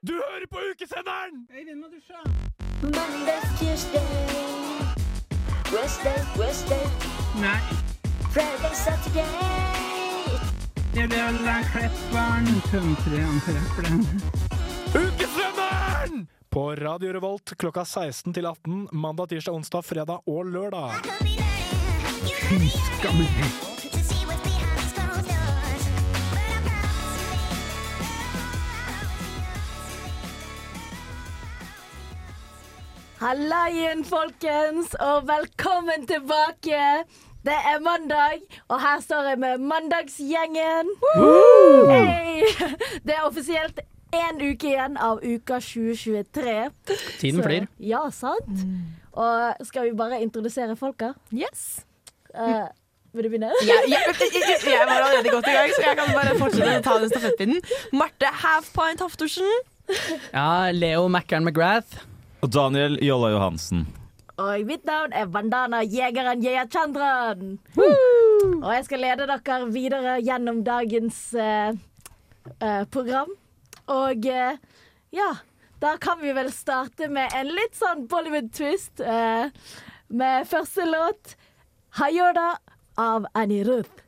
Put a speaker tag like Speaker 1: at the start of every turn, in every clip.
Speaker 1: Du hører på ukesenderen!
Speaker 2: Monday, Tuesday, Wednesday, Wednesday,
Speaker 3: Nei,
Speaker 2: Friday, Saturday.
Speaker 3: det blir vel den klipperen. Tømtreren treffer den.
Speaker 1: Ukesenderen! På Radio Revolt klokka 16 til 18 mandag, tirsdag, onsdag, fredag og lørdag.
Speaker 4: Hallaien, folkens, og velkommen tilbake. Det er mandag, og her står jeg med mandagsgjengen. Hey! Det er offisielt én uke igjen av uka 2023.
Speaker 5: Tiden
Speaker 4: Så-
Speaker 5: flyr.
Speaker 4: Ja, sant? Og skal vi bare introdusere folka?
Speaker 6: Mm. Yes.
Speaker 4: Eh, vil du begynne?
Speaker 6: Jeg, jeg, jeg, jeg var allerede godt i gang, så jeg kan bare fortsette å ta den stafettpinnen. Marte Halfpint Haftorsen.
Speaker 5: Ja, Leo Mackern McGrath.
Speaker 7: Og Daniel Jolla Johansen.
Speaker 4: Og mitt navn er Vandana Jegeren Yeya Chandran. Og jeg skal lede dere videre gjennom dagens eh, eh, program. Og eh, ja, da kan vi vel starte med en litt sånn Bollywood-twist. eh, med første låt, 'Hayoda' av Annie Ruth.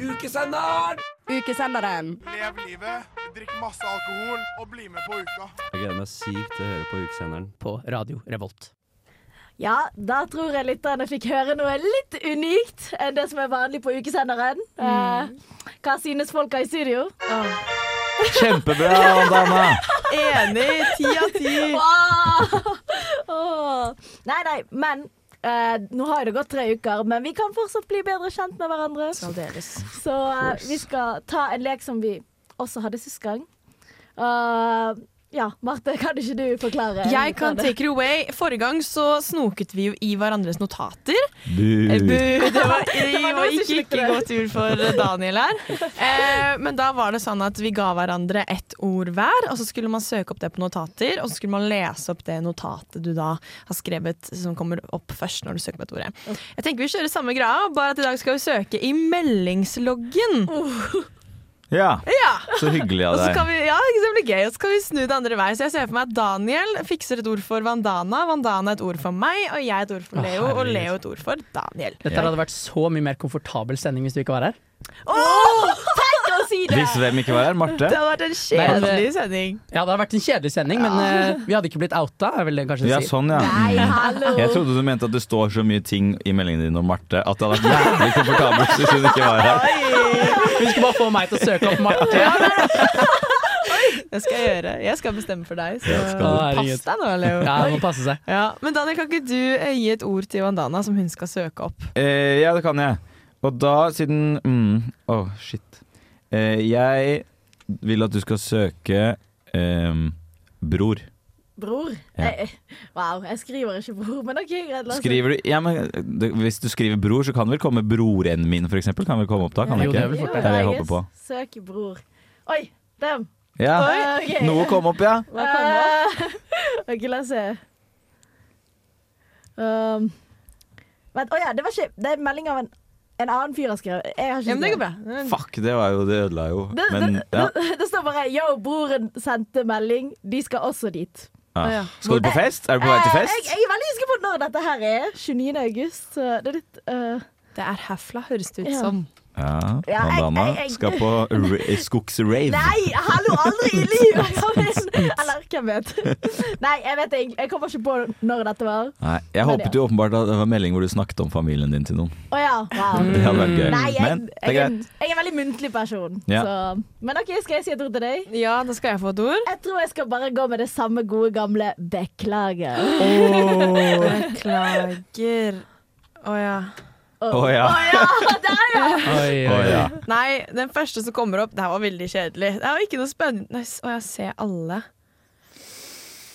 Speaker 8: Ukesenderen!
Speaker 6: Ukesenderen.
Speaker 9: Lev livet, drikk masse alkohol og bli med på uka.
Speaker 8: Jeg gleder meg sykt til å høre på ukesenderen.
Speaker 5: På Radio Revolt.
Speaker 4: Ja, da tror jeg lytterne fikk høre noe litt unikt enn det som er vanlig på ukesenderen.
Speaker 6: Mm.
Speaker 4: Eh, hva synes folka i studio?
Speaker 7: Kjempebra, Dana!
Speaker 6: Enig. Ti av ti.
Speaker 4: Åh! Åh. Nei, nei, men eh, nå har jo det gått tre uker, men vi kan fortsatt bli bedre kjent med hverandre.
Speaker 6: Aldeles.
Speaker 4: Så eh, vi skal ta en lek som vi også hadde sist gang. Eh, ja, Marte, kan ikke du forklare?
Speaker 6: Jeg kan
Speaker 4: det?
Speaker 6: take it away. Forrige gang så snoket vi jo i hverandres notater. Eh, Bu,
Speaker 7: Bu.
Speaker 6: det var, det
Speaker 4: var
Speaker 6: var
Speaker 4: noe som
Speaker 6: ikke, ikke
Speaker 4: slikte det.
Speaker 6: godt ord for Daniel her. Eh, men da var det sånn at vi ga hverandre ett ord hver, og så skulle man søke opp det på notater, og så skulle man lese opp det notatet du da har skrevet som kommer opp først når du søker på et ordet. Jeg tenker vi kjører samme greia, bare at i dag skal vi søke i meldingsloggen.
Speaker 7: Ja,
Speaker 6: Ja!
Speaker 7: så hyggelig av
Speaker 6: Og så
Speaker 7: deg.
Speaker 6: kan vi, ja, det blir gøy, og så kan vi snu det andre vei. Så jeg ser for meg at Daniel fikser et ord for Vandana, Vandana et ord for meg, og jeg et ord for Leo, og
Speaker 5: herregud.
Speaker 6: Leo et ord for Daniel.
Speaker 5: Dette her hadde vært så mye mer komfortabel sending hvis du ikke var her.
Speaker 4: Ikke å si det!
Speaker 7: Hvis hvem ikke var her? Marte?
Speaker 6: Det hadde vært en
Speaker 5: Nei,
Speaker 6: kjedelig
Speaker 5: det-
Speaker 6: sending.
Speaker 5: Ja, det hadde vært en kjedelig sending, men eh, vi hadde ikke blitt outa. Er vel det kanskje
Speaker 7: Ja,
Speaker 5: å si.
Speaker 7: sånn, ja.
Speaker 4: Nei, hallo!
Speaker 7: Jeg trodde du mente at det står så mye ting i meldingen din om Marte at det hadde vært jævlig komfortabelt hvis hun ikke var her.
Speaker 5: Hun skulle bare få meg til å søke opp Marte.
Speaker 6: Det skal jeg gjøre. Jeg skal bestemme for deg, så
Speaker 7: Ja, skal
Speaker 5: du.
Speaker 6: pass deg nå, Leo.
Speaker 5: Ja, det må passe seg.
Speaker 6: Ja, men Daniel, kan ikke du eh, gi et ord til Vandana som hun skal søke opp?
Speaker 7: Eh, ja, det kan jeg. Og da, siden mm, Åh, shit. Eh, jeg vil at du skal søke ehm, bror.
Speaker 4: Bror?
Speaker 7: Ja.
Speaker 4: Jeg, wow, jeg skriver ikke bror, men OK, greit. la oss-
Speaker 7: Skriver du Ja, men det, hvis du skriver bror, så kan vel komme broren min, for eksempel. Kan vel komme opp da? Kan
Speaker 5: Jo,
Speaker 7: det
Speaker 5: det er
Speaker 7: ikke?
Speaker 5: vel fort
Speaker 7: Det er det jeg
Speaker 4: Jo,
Speaker 7: håper på.
Speaker 4: Søk bror. Oi, dem!
Speaker 7: Ja.
Speaker 4: Ok.
Speaker 7: Noe kom opp, ja.
Speaker 4: Hva kan OK, la oss se. Um, vent, å ja, det var ikke Det er en melding av en, en annen fyr har skrevet. Jeg har ikke
Speaker 6: Ja, men det går
Speaker 4: skrevet.
Speaker 6: bra.
Speaker 7: Fuck, det var jo Det ødela jo.
Speaker 4: Det, det,
Speaker 7: Men ja.
Speaker 4: det, det står bare 'yo, broren sendte melding'. De skal også dit.
Speaker 7: ja. Skal du på fest? Er du på vei til
Speaker 4: Eh, jeg,
Speaker 7: fest?
Speaker 4: jeg er veldig usikker på når dette her er. 29. august. Så det er litt eh,
Speaker 6: Det er herfra, høres det ut
Speaker 4: Ja.
Speaker 6: som.
Speaker 7: Ja.
Speaker 4: Ja, jeg-
Speaker 7: Mandana
Speaker 4: jeg- jeg-
Speaker 7: skal på ra- skogsrave.
Speaker 4: Nei, hallo, aldri i livet! Kom igjen. Eller hvem vet. Nei, jeg vet ikke. Jeg kommer ikke på når dette var.
Speaker 7: Nei, jeg
Speaker 4: Men
Speaker 7: håpet jo åpenbart at det var en melding hvor du snakket om familien din til noen.
Speaker 4: Å ja. Wow.
Speaker 7: Det hadde vært gøy.
Speaker 4: Nei, jeg,
Speaker 7: Men det er
Speaker 4: jeg, er,
Speaker 7: greit.
Speaker 4: jeg er en veldig muntlig person.
Speaker 7: Ja.
Speaker 4: Så. Men OK, skal jeg si et ord til deg?
Speaker 6: Ja, da skal jeg få et ord.
Speaker 4: Jeg tror jeg skal bare gå med det samme gode gamle 'beklager'.
Speaker 6: Beklager. Å ja.
Speaker 4: Å
Speaker 7: Å, ja.
Speaker 5: Oi,
Speaker 7: Å
Speaker 5: oi,
Speaker 7: ja.
Speaker 5: oi.
Speaker 6: Nei, den første som kommer opp, det her var veldig kjedelig. Det her var ikke noe spennende. Å, jeg ser alle.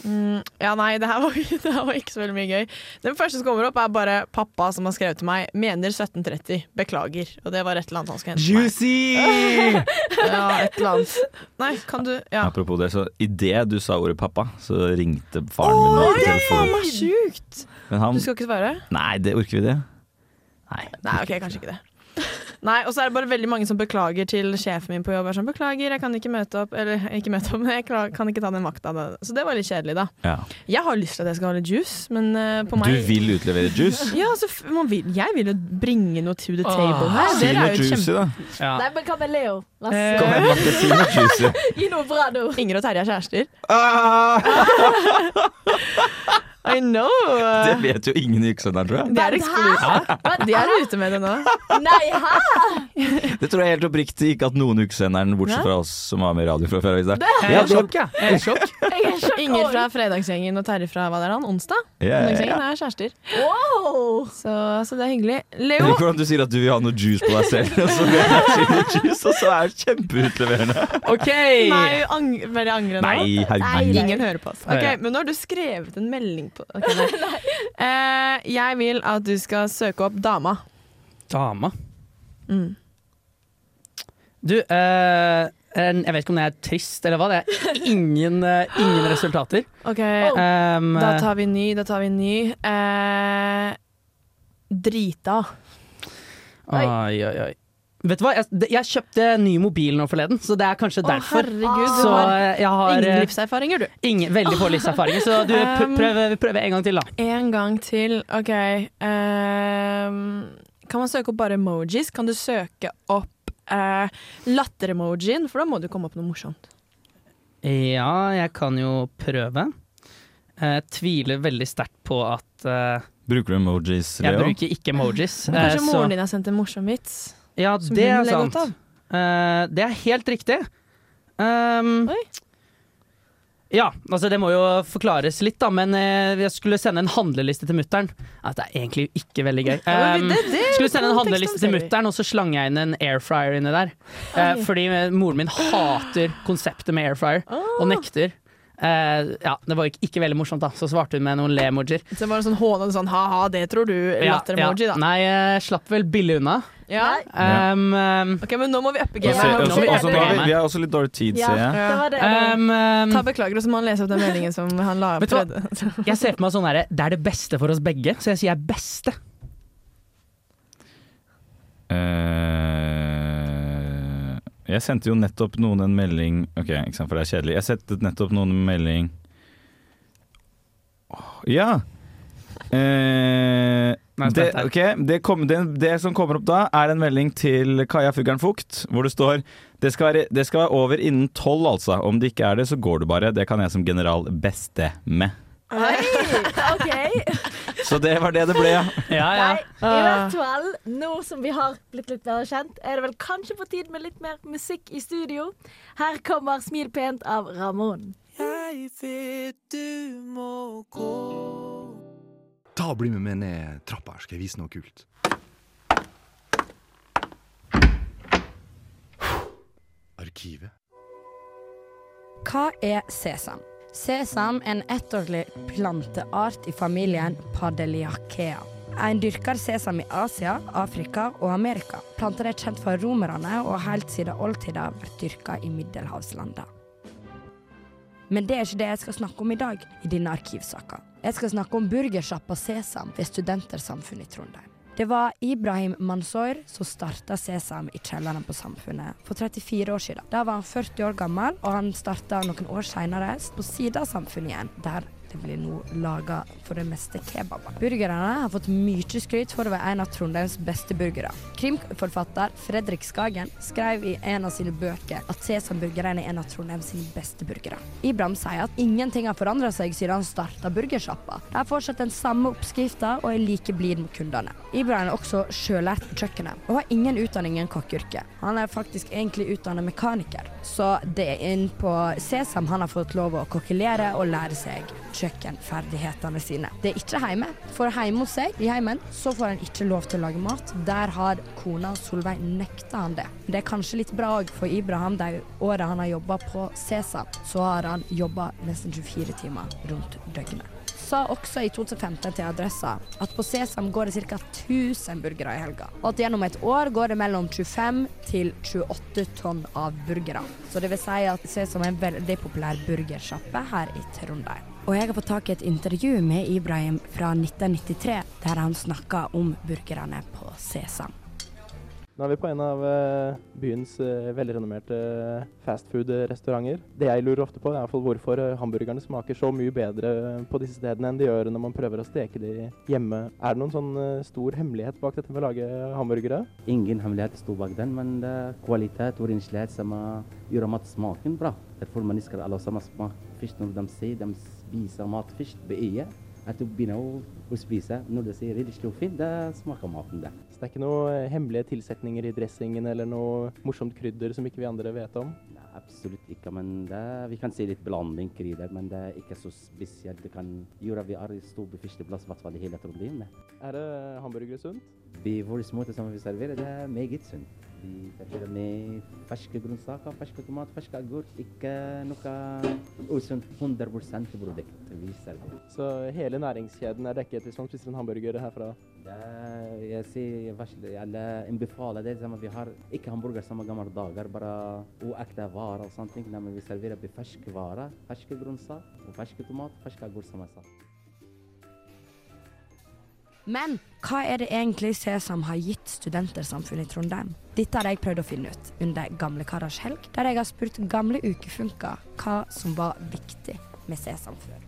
Speaker 6: Mm, ja, nei, det her, var, det her var ikke så veldig mye gøy. Den første som kommer opp, er bare pappa som har skrevet til meg. Mener 1730. Beklager. Og det var et eller annet han skulle hente meg.
Speaker 5: Juicy!
Speaker 6: Ja, et eller annet. Nei, kan du Ja.
Speaker 7: Apropos det, så idet du sa ordet pappa, så ringte faren min
Speaker 6: Oi,
Speaker 7: opp
Speaker 6: det er faen
Speaker 7: telefonen.
Speaker 6: meg sjukt!
Speaker 7: Men han
Speaker 6: Du skal ikke svare?
Speaker 7: Nei, det orker vi det?
Speaker 6: Nei, OK, kanskje ikke det. Nei, og så er det bare veldig mange som beklager til sjefen min på jobb. Er sånn, beklager, jeg kan ikke møte opp, eller ikke møte opp, men jeg kla- kan ikke ta den vakta. da. Så det var litt kjedelig, da.
Speaker 7: Ja.
Speaker 6: Jeg har lyst til at jeg skal ha litt juice, men eh, på meg
Speaker 7: Du vil utlevere juice?
Speaker 6: Ja, altså, f- man vil, jeg vil jo bringe noe to the table her.
Speaker 7: Si
Speaker 6: Dere
Speaker 7: noe
Speaker 6: er jo
Speaker 7: juicy,
Speaker 6: kjempe...
Speaker 7: da.
Speaker 5: Ja.
Speaker 4: Nei, men hva med Leo? Vær
Speaker 6: Eh,
Speaker 4: så
Speaker 7: Kom igjen, Marte, si noe juicy.
Speaker 4: snill, Gi noe bra nå.
Speaker 6: Inger og Terje er kjærester.
Speaker 7: Ah,
Speaker 6: I know!
Speaker 7: det vet jo ingen i Ukesenderen, tror jeg.
Speaker 6: De er eksklusive. De er ute med det nå.
Speaker 4: Nei, hæ?
Speaker 7: Det tror jeg helt oppriktig ikke at noen i Ukesenderen, bortsett fra oss som var med i radio fra før, har visst det.
Speaker 5: Jeg er i sjokk, jeg. jeg. er i sjokk.
Speaker 4: Jeg er sjokk.
Speaker 6: Inger fra Fredagsgjengen og Terje fra hva det er han, onsdag?
Speaker 7: Ja, ja, ja.
Speaker 6: Fredagsgjengen er kjærester.
Speaker 4: Wow!
Speaker 6: Så, så det er hyggelig.
Speaker 7: Jeg
Speaker 6: Leo,
Speaker 7: liker hvordan du sier at du vil ha noe juice på deg selv, og så vil jeg si noe juice, og så er det kjempeutleverende.
Speaker 5: OK.
Speaker 6: nei, ang veldig angre nå.
Speaker 7: Nei,
Speaker 4: Nei,
Speaker 7: herregud.
Speaker 4: nei.
Speaker 6: Ingen hører på oss. Ok,
Speaker 5: Nei.
Speaker 6: Men nå har du skrevet en melding på ok, nei. Eh, Jeg vil at du skal søke opp dama.
Speaker 5: Dama.
Speaker 6: Mm.
Speaker 5: Du, eh, en- jeg vet ikke om det er trist eller hva, det er ingen, eh, ingen resultater.
Speaker 6: Ok,
Speaker 4: Oh.
Speaker 5: Um,
Speaker 6: Da tar vi ny, da tar vi ny. Eh, drita.
Speaker 5: oi, oi, oi. Vet du hva, jeg, det- jeg kjøpte ny mobil nå forleden, så det er kanskje
Speaker 6: Å,
Speaker 5: derfor.
Speaker 6: herregud, du
Speaker 5: så
Speaker 6: har
Speaker 5: eh, jeg har
Speaker 6: ingen
Speaker 5: eh,
Speaker 6: livserfaringer, du.
Speaker 5: ingen, veldig få livserfaringer, så du
Speaker 6: Um,
Speaker 5: pr prøv, eh, prøv en gang til, da.
Speaker 6: En gang til. OK. ehm, kan man søke opp bare emojis? Kan du søke opp eh, latter-emojien? For da må du komme opp med noe morsomt.
Speaker 5: Ja, jeg kan jo prøve. Jeg tviler veldig sterkt på at eh,
Speaker 7: Bruker du emojis,
Speaker 5: Jeg
Speaker 7: Leo?
Speaker 5: bruker ikke emojis.
Speaker 6: Men
Speaker 5: eh,
Speaker 6: kanskje
Speaker 5: så-
Speaker 6: moren din har sendt en morsom vits?
Speaker 5: Ja,
Speaker 6: som
Speaker 5: det
Speaker 6: hun
Speaker 5: er
Speaker 6: legger
Speaker 5: sant.
Speaker 6: godt av?
Speaker 5: Eh, det er helt riktig. Um,
Speaker 6: Oi.
Speaker 5: Ja, altså det må jo forklares litt, da, men eh, jeg skulle sende en handleliste til mutter'n. Ja, det er egentlig ikke veldig gøy.
Speaker 6: Ja, men
Speaker 5: Um,
Speaker 6: det- det er
Speaker 5: skulle sende en
Speaker 6: kontekst
Speaker 5: handleliste
Speaker 6: om
Speaker 5: til
Speaker 6: serier.
Speaker 5: mutter'n, og så slang jeg inn en airfryer inni der. Eh, fordi eh, moren min hater konseptet med airfryer,
Speaker 6: Ah.
Speaker 5: og nekter. Eh, ja, det var ikke, ikke veldig morsomt, da. Så svarte hun med noen le-emojier.
Speaker 6: Så var det sånn hånende sånn ha-ha, det tror du.
Speaker 5: Ja,
Speaker 6: Latter-emoji, da.
Speaker 5: ja. Nei, eh, slapp vel billig unna.
Speaker 6: Ja.
Speaker 4: Nei.
Speaker 5: Um, um,
Speaker 6: OK, men nå må vi uppe
Speaker 7: Og se-
Speaker 6: gamet.
Speaker 7: og
Speaker 5: nå
Speaker 7: så-
Speaker 5: må vi
Speaker 7: og så nå har vi-
Speaker 5: prøve.
Speaker 7: Vi har også litt dårlig tid,
Speaker 4: Ja,
Speaker 7: ser jeg.
Speaker 4: det var det. da.
Speaker 5: um, um,
Speaker 6: Ta Beklager, og så må han lese opp den meldingen som han la opp.
Speaker 5: Vet du hva?
Speaker 6: allerede.
Speaker 5: Jeg ser for meg sånn der, det er det beste for oss begge, så jeg sier beste.
Speaker 7: Eh, jeg sendte jo nettopp noen en melding Ok, ikke sant, for det er kjedelig. Jeg sendte nettopp noen en melding Åh, Ja! Eh,
Speaker 5: Nei,
Speaker 7: det,
Speaker 5: spent her.
Speaker 7: ok, det, kom, det, det som kommer opp da, er en melding til Kaja Fuggern Fugt, hvor det står det skal, være, det skal være over innen tolv, altså. Om det ikke er det, så går du bare. Det kan jeg som general bestemme.
Speaker 4: Oi, OK.
Speaker 7: Så det var det det ble.
Speaker 5: Ja,
Speaker 4: Nei,
Speaker 6: Ah.
Speaker 4: i hvert fall, nå som vi har blitt litt bedre kjent, er det vel kanskje på tide med litt mer musikk i studio. Her kommer Smil pent av Ramón.
Speaker 10: Ta og Bli med meg ned trappa, her, skal jeg vise noe kult. Arkivet.
Speaker 2: Hva er sesam? Sesam er en ettårig planteart i familien Padeliacea. En dyrker sesam i Asia, Afrika og Amerika. Planten er kjent for romerne og har helt siden oldtida vært dyrka i middelhavslandene. Men det er ikke det jeg skal snakke om i dag i denne arkivsaka. Jeg skal snakke om burgersjappa Sesam ved Studentersamfunnet i Trondheim. Det var Ibrahim Mansour som starta Sesam i kjelleren på Samfunnet for 34 år siden. Da var han 40 år gammel, og han starta noen år seinere på sida av samfunnet igjen, der det blir nå laga for det meste kebaber. Burgerne har fått mye skryt for å være en av Trondheims beste burgere. Krimforfatter Fredrik Skagen skrev i en av sine bøker at sesamburgeren er en av Trondheims sine beste burgere. Ibram sier at ingenting har forandra seg siden han starta burgersjappa. De har fortsatt den samme oppskrifta og er like blid mot kundene. Ibram er også sjølært på kjøkkenet og har ingen utdanning innen kokkeyrket. Han er faktisk egentlig utdanna mekaniker, så det er inn på Sesam han har fått lov å kokkelere og lære seg kjøkkenferdighetene sine. Det er ikke hjemme, for hjemme hos seg, i heimen, så får han ikke lov til å lage mat. Der har kona Solveig nekta han det. Men det er kanskje litt bra òg, for Ibrahim de åra han har jobba på Sesam, så har han jobba nesten 24 timer rundt døgnet. Sa også i 2015 til Adressa at på Sesam går det ca. 1000 burgere i helga, og at gjennom et år går det mellom 25 til 28 tonn av burgere. Så det vil si at Sesam er en veldig populær burgersjappe her i Trondheim. Og jeg har fått tak i et intervju med Ibrahim fra 1993, der han snakka om burgerne på Sesam.
Speaker 11: Nå er vi på en av eh, byens eh, velrenommerte eh, fastfood-restauranter. Det jeg lurer ofte på, er i hvert fall hvorfor eh, hamburgerne smaker så mye bedre eh, på disse stedene enn de gjør når man prøver å steke de hjemme. Er det noen sånn eh, stor hemmelighet bak dette med å lage hamburgere?
Speaker 12: Ingen hemmelighet sto bak den, men det er kvalitet og renslighet som eh, gjør matsmaken bra. Derfor mennesker alle sammen smaker først når de sier de spiser mat først ved øyet. At du begynner å, å spise når de sier 'ryddig slå fint', det smaker maten det.
Speaker 11: Så det er ikke noen hemmelige tilsetninger i dressingen eller noe morsomt krydder som ikke vi andre vet om?
Speaker 12: Nei, absolutt ikke, men det, vi kan si litt blanding i det, men det er ikke så spesielt. Det kan gjøre at vi er i stor på førsteplass, i hvert fall i hele Trondheim.
Speaker 11: Er det eh, hamburgere sunt?
Speaker 12: Vi, vår måte som vi serverer, det er meget sunt. Vi serverer med ferske grønnsaker, ferske tomat, ferske agurk. Ikke noe usunt 100 produkt vi serverer.
Speaker 11: Så hele næringskjeden er dekket hvis man spiser en hamburger herfra?
Speaker 12: Det, jeg sier, vær så- eller anbefaler det som vi har, ikke hamburger som gamle dager, bare uekte varer og sånne ting. Nei, men vi serverer med ferske varer, ferske grønnsaker, og ferske tomat, ferske agurk, som jeg sa.
Speaker 2: Men hva er det egentlig Sesam har gitt studentersamfunnet i Trondheim? Dette har jeg prøvd å finne ut under Gamle karers helg, der jeg har spurt gamle ukefunker hva som var viktig med Sesam før.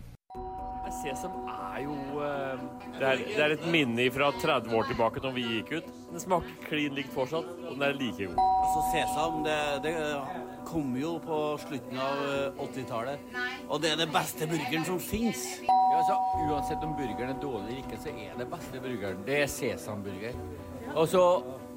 Speaker 13: Sesam er jo eh, det er, det er et minne fra 30 år tilbake når vi gikk ut. Den smaker klin likt fortsatt, og den er like god.
Speaker 14: Altså Sesam, det, det eh, kom jo på slutten av eh, 80-tallet. Og det er den beste burgeren som fins.
Speaker 15: Ja, altså, uansett om burgeren er dårlig eller ikke, så er det beste burgeren. Det er sesamburger. Og så,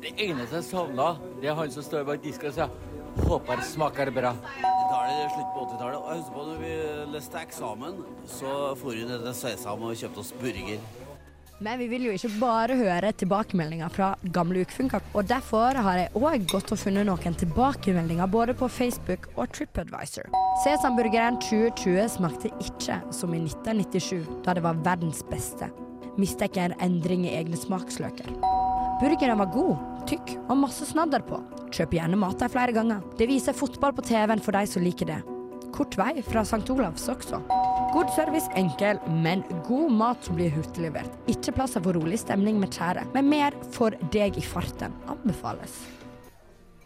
Speaker 15: det eneste jeg savna, det er han som står bak disken og sier Håper smaker bra.
Speaker 14: 80-tallet, det er slutt på 80-tallet. Og jeg husker på når vi leste eksamen, så for vi ned til Sesam og kjøpte oss burger.
Speaker 2: Men vi vil jo ikke bare høre tilbakemeldinger fra gamle ukefunker, og derfor har jeg òg gått og funnet noen tilbakemeldinger både på Facebook og TripAdvisor. Sesamburgeren 2020 smakte ikke som i 1997, da det var verdens beste. Mistenker en endring i egne smaksløker. Burgeren var god, tykk og masse snadder på. Kjøp gjerne mat der flere ganger. Det viser fotball på TV-en for de som liker det. Kort vei fra St. Olavs også. God service, enkel, men god mat som blir hurtiglevert. Ikke plasser for rolig stemning med kjære, men mer for deg i farten. Anbefales.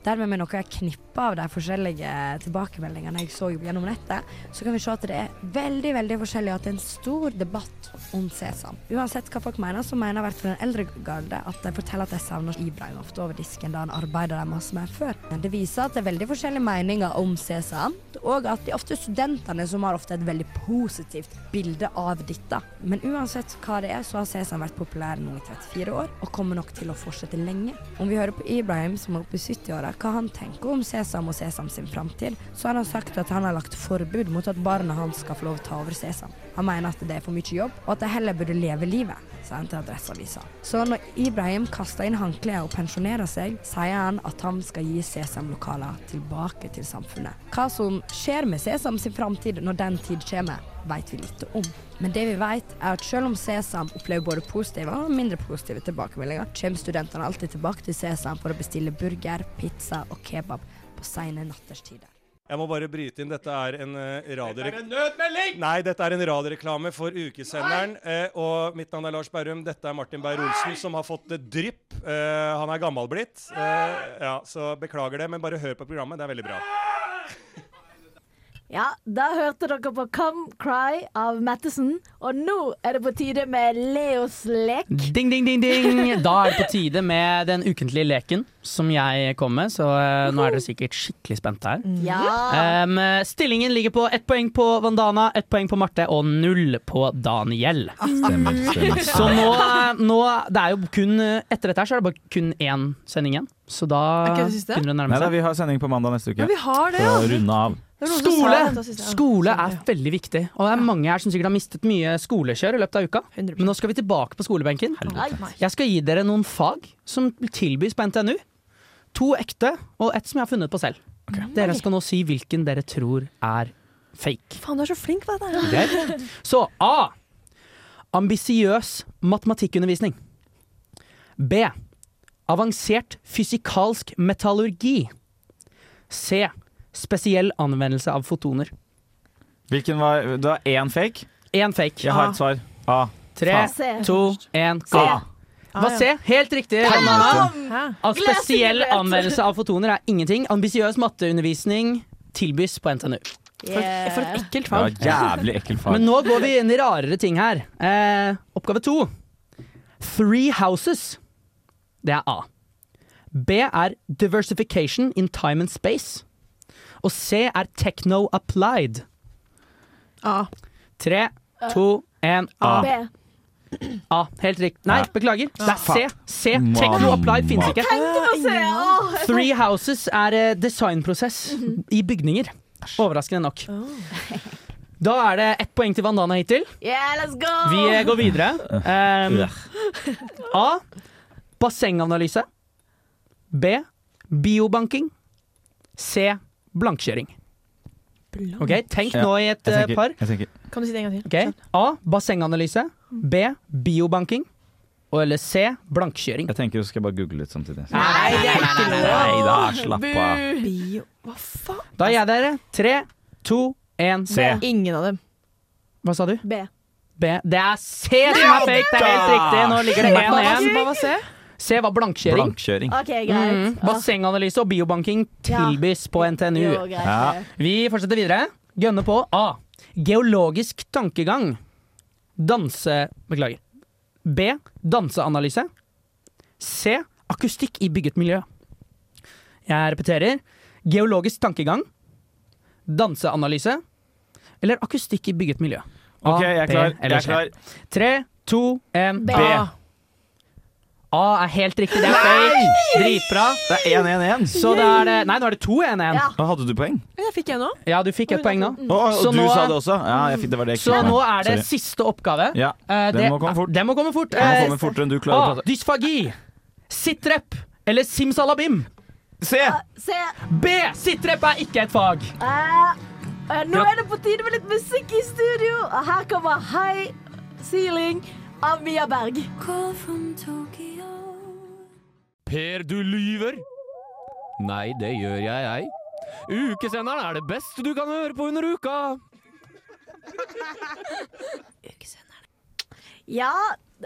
Speaker 2: Dermed med noe jeg knipper av de forskjellige tilbakemeldingene jeg så gjennom nettet, så kan vi se at det er veldig veldig forskjellig, og at det er en stor debatt om sesam. Uansett hva folk mener, så mener i hvert fall den eldre garde at de forteller at de savner Ibrahim ofte over disken da han arbeider der masse mer før. Men det viser at det er veldig forskjellige meninger om sesam, og at det er ofte studentene som har ofte et veldig positivt bilde av dette. Men uansett hva det er, så har sesam vært populær nå i 34 år, og kommer nok til å fortsette lenge. Om vi hører på Ibrahim, som er oppe i 70-åra, hva han tenker om Sesam og Sesam sin framtid, så har han sagt at han har lagt forbud mot at barna hans skal få lov å ta over Sesam. Han mener at det er for mye jobb, og at de heller burde leve livet, sa han til Adresseavisa. Så når Ibrahim kaster inn håndkleet og pensjonerer seg, sier han at han skal gi Sesam-lokaler tilbake til samfunnet. Hva som skjer med Sesam sin framtid når den tid kommer, vet vi lite om. Men det vi vet er at selv om Sesam opplever både positive og mindre positive tilbakemeldinger, kommer studentene alltid tilbake til Sesam for å bestille burger, pizza og kebab på sene natterstider.
Speaker 16: Jeg må bare bryte inn. Dette er en uh,
Speaker 17: Dette er en
Speaker 16: nødmelding! Nei, dette er en radioreklame for ukesenderen. eh, og mitt navn er Lars Berrum. Dette er Martin Beyer-Olsen, som har fått eh, drypp. Eh, han er gammel blitt. Eh, ja, så beklager det, men bare hør på programmet. Det er veldig bra.
Speaker 4: Ja, da hørte dere på Come Cry av Mattison, og nå er det på tide med Leos lek.
Speaker 5: Ding, ding, ding, ding! Da er det på tide med den ukentlige leken som jeg kom med, så eh, nå er dere sikkert skikkelig spente her.
Speaker 4: Ja.
Speaker 5: Em, stillingen ligger på ett poeng på Vandana, ett poeng på Marte og null på Daniel.
Speaker 7: stemmer.
Speaker 5: Så nå, eh, nå Det er jo kun eh, Etter dette her så er det bare kun én sending igjen, så da
Speaker 6: Er ikke det siste?
Speaker 5: begynner det å
Speaker 7: Nei
Speaker 5: nærme
Speaker 7: da,
Speaker 5: seg.
Speaker 7: vi har sending på mandag neste uke.
Speaker 6: Ja, vi har det,
Speaker 7: Så
Speaker 6: ja.
Speaker 7: runde av.
Speaker 6: Det var noen som
Speaker 5: Skole!
Speaker 6: sa dette siste.
Speaker 5: Skole er veldig viktig. Og det er mange her som sikkert har mistet mye skolekjør i løpet av uka. Men nå skal vi tilbake på skolebenken. Jeg skal gi dere noen fag som tilbys på NTNU. To ekte, og ett som jeg har funnet på selv.
Speaker 6: Mm,
Speaker 5: Dere skal nå si hvilken dere tror er fake.
Speaker 6: Faen, du er så flink på dette.
Speaker 5: Det er det. Så A. Ambisiøs matematikkundervisning. B. Avansert fysikalsk metallurgi. C. Spesiell anvendelse av fotoner.
Speaker 7: Hvilken var Du har én fake?
Speaker 5: Én fake.
Speaker 6: Ah,
Speaker 7: Ah. Jeg har
Speaker 5: A.
Speaker 7: et svar. A.
Speaker 5: Tre,
Speaker 7: Faen.
Speaker 5: to, én, gå. Hva
Speaker 6: ja.
Speaker 5: se? Helt riktig.
Speaker 6: Damn!
Speaker 5: Hanna.
Speaker 6: Hæ?
Speaker 5: At spesiell
Speaker 6: Gledesnyhet.
Speaker 5: anvendelse av fotoner er ingenting. Ambisiøs matteundervisning tilbys på NTNU.
Speaker 6: For, et- for et ekkelt
Speaker 7: Ja,
Speaker 6: fag.
Speaker 7: jævlig ekkel fag.
Speaker 5: Men nå går vi inn i rarere ting her. Eh, oppgave to. Three houses. Det er A. B er diversification in time and space. Og C er techno applied.
Speaker 6: A.
Speaker 5: Tre, to, én, A.
Speaker 4: B.
Speaker 5: A. Helt riktig. Nei, beklager. Det er C. C. Techno
Speaker 7: Mamma.
Speaker 5: applied finnes ikke.
Speaker 4: Tenkte å se! Åh, jeg
Speaker 5: Three Houses er eh, designprosess i bygninger. Overraskende nok. Da er det ett poeng til Vandana hittil.
Speaker 4: tenkte- Yeah, let's go!
Speaker 5: Vi eh, går videre. Ehm, A. Bassenganalyse. B. Biobanking. C. Blankekjøring. Ok, Tenk nå i et eh, par.
Speaker 7: Jeg tenker
Speaker 6: Kan du si det en gang til?
Speaker 5: Ok, A. Bassenganalyse. B. Biobanking. Og- Eller C. Blankekjøring.
Speaker 7: Jeg tenker så skal jeg bare google litt samtidig.
Speaker 5: Nei, det er ikke lov!
Speaker 7: Nei da, slapp av.
Speaker 6: Bu. Bio. Hva faen?
Speaker 5: Da er jeg dere. Tre, to, én.
Speaker 7: C.
Speaker 6: Ingen av dem.
Speaker 5: Hva sa du?
Speaker 4: B.
Speaker 5: B. Det er C som er fake! Det er helt riktig. Nå ligger det
Speaker 6: Hva var-
Speaker 5: 1-1.
Speaker 6: Hva var C?
Speaker 5: C var blankekjøring.
Speaker 7: Blankekjøring.
Speaker 4: OK, greit.
Speaker 5: Mhm. Bassenganalyse og biobanking tilbys på NTNU.
Speaker 4: Jo, greit, Ja. det.
Speaker 5: Vi fortsetter videre. Gønne på A. Geologisk tankegang. Danse... Beklager. B. Danseanalyse. C. Akustikk i bygget miljø. Jeg repeterer. Geologisk tankegang. Danseanalyse. Eller akustikk i bygget miljø. A,
Speaker 7: Ok, jeg er
Speaker 5: B
Speaker 7: klar.
Speaker 5: eller
Speaker 7: Jeg er klar.
Speaker 5: C. Tre, to, en
Speaker 7: B.
Speaker 5: A. A er helt riktig. Det er fake. Dritbra.
Speaker 7: Det er 1-1-1.
Speaker 5: Så da er det Nei, nå er det 2-1-1. Ja.
Speaker 7: Da hadde du poeng.
Speaker 6: Jeg fikk en nå.
Speaker 5: du fikk et poeng nå.
Speaker 4: mm.
Speaker 7: Å, og
Speaker 5: Så
Speaker 7: du
Speaker 5: nå-
Speaker 7: sa det også? Ja, jeg fikk, det var det jeg
Speaker 5: Så
Speaker 7: ikke fikk
Speaker 5: nå
Speaker 7: med.
Speaker 5: er det
Speaker 7: Sorry.
Speaker 5: siste oppgave.
Speaker 7: Ja,
Speaker 5: Eh,
Speaker 7: den
Speaker 5: det-
Speaker 7: må komme fort.
Speaker 5: Den må komme fort.
Speaker 7: Den må
Speaker 5: Eh,
Speaker 7: komme fortere enn du klarer å
Speaker 5: A.
Speaker 7: prate.
Speaker 5: Dysfagi. Sitrep eller simsalabim.
Speaker 7: Se!
Speaker 4: Eh, Se!
Speaker 5: B. Sitrep er ikke et fag.
Speaker 4: Eh, eh, nå
Speaker 5: Ja.
Speaker 4: er det på tide med litt musikk i studio. Og her kommer High Ceiling av Mia Berg.
Speaker 8: Per, du lyver! Nei, det gjør jeg, jeg. Ukesenderen er det beste du kan høre på under uka!
Speaker 4: Ja,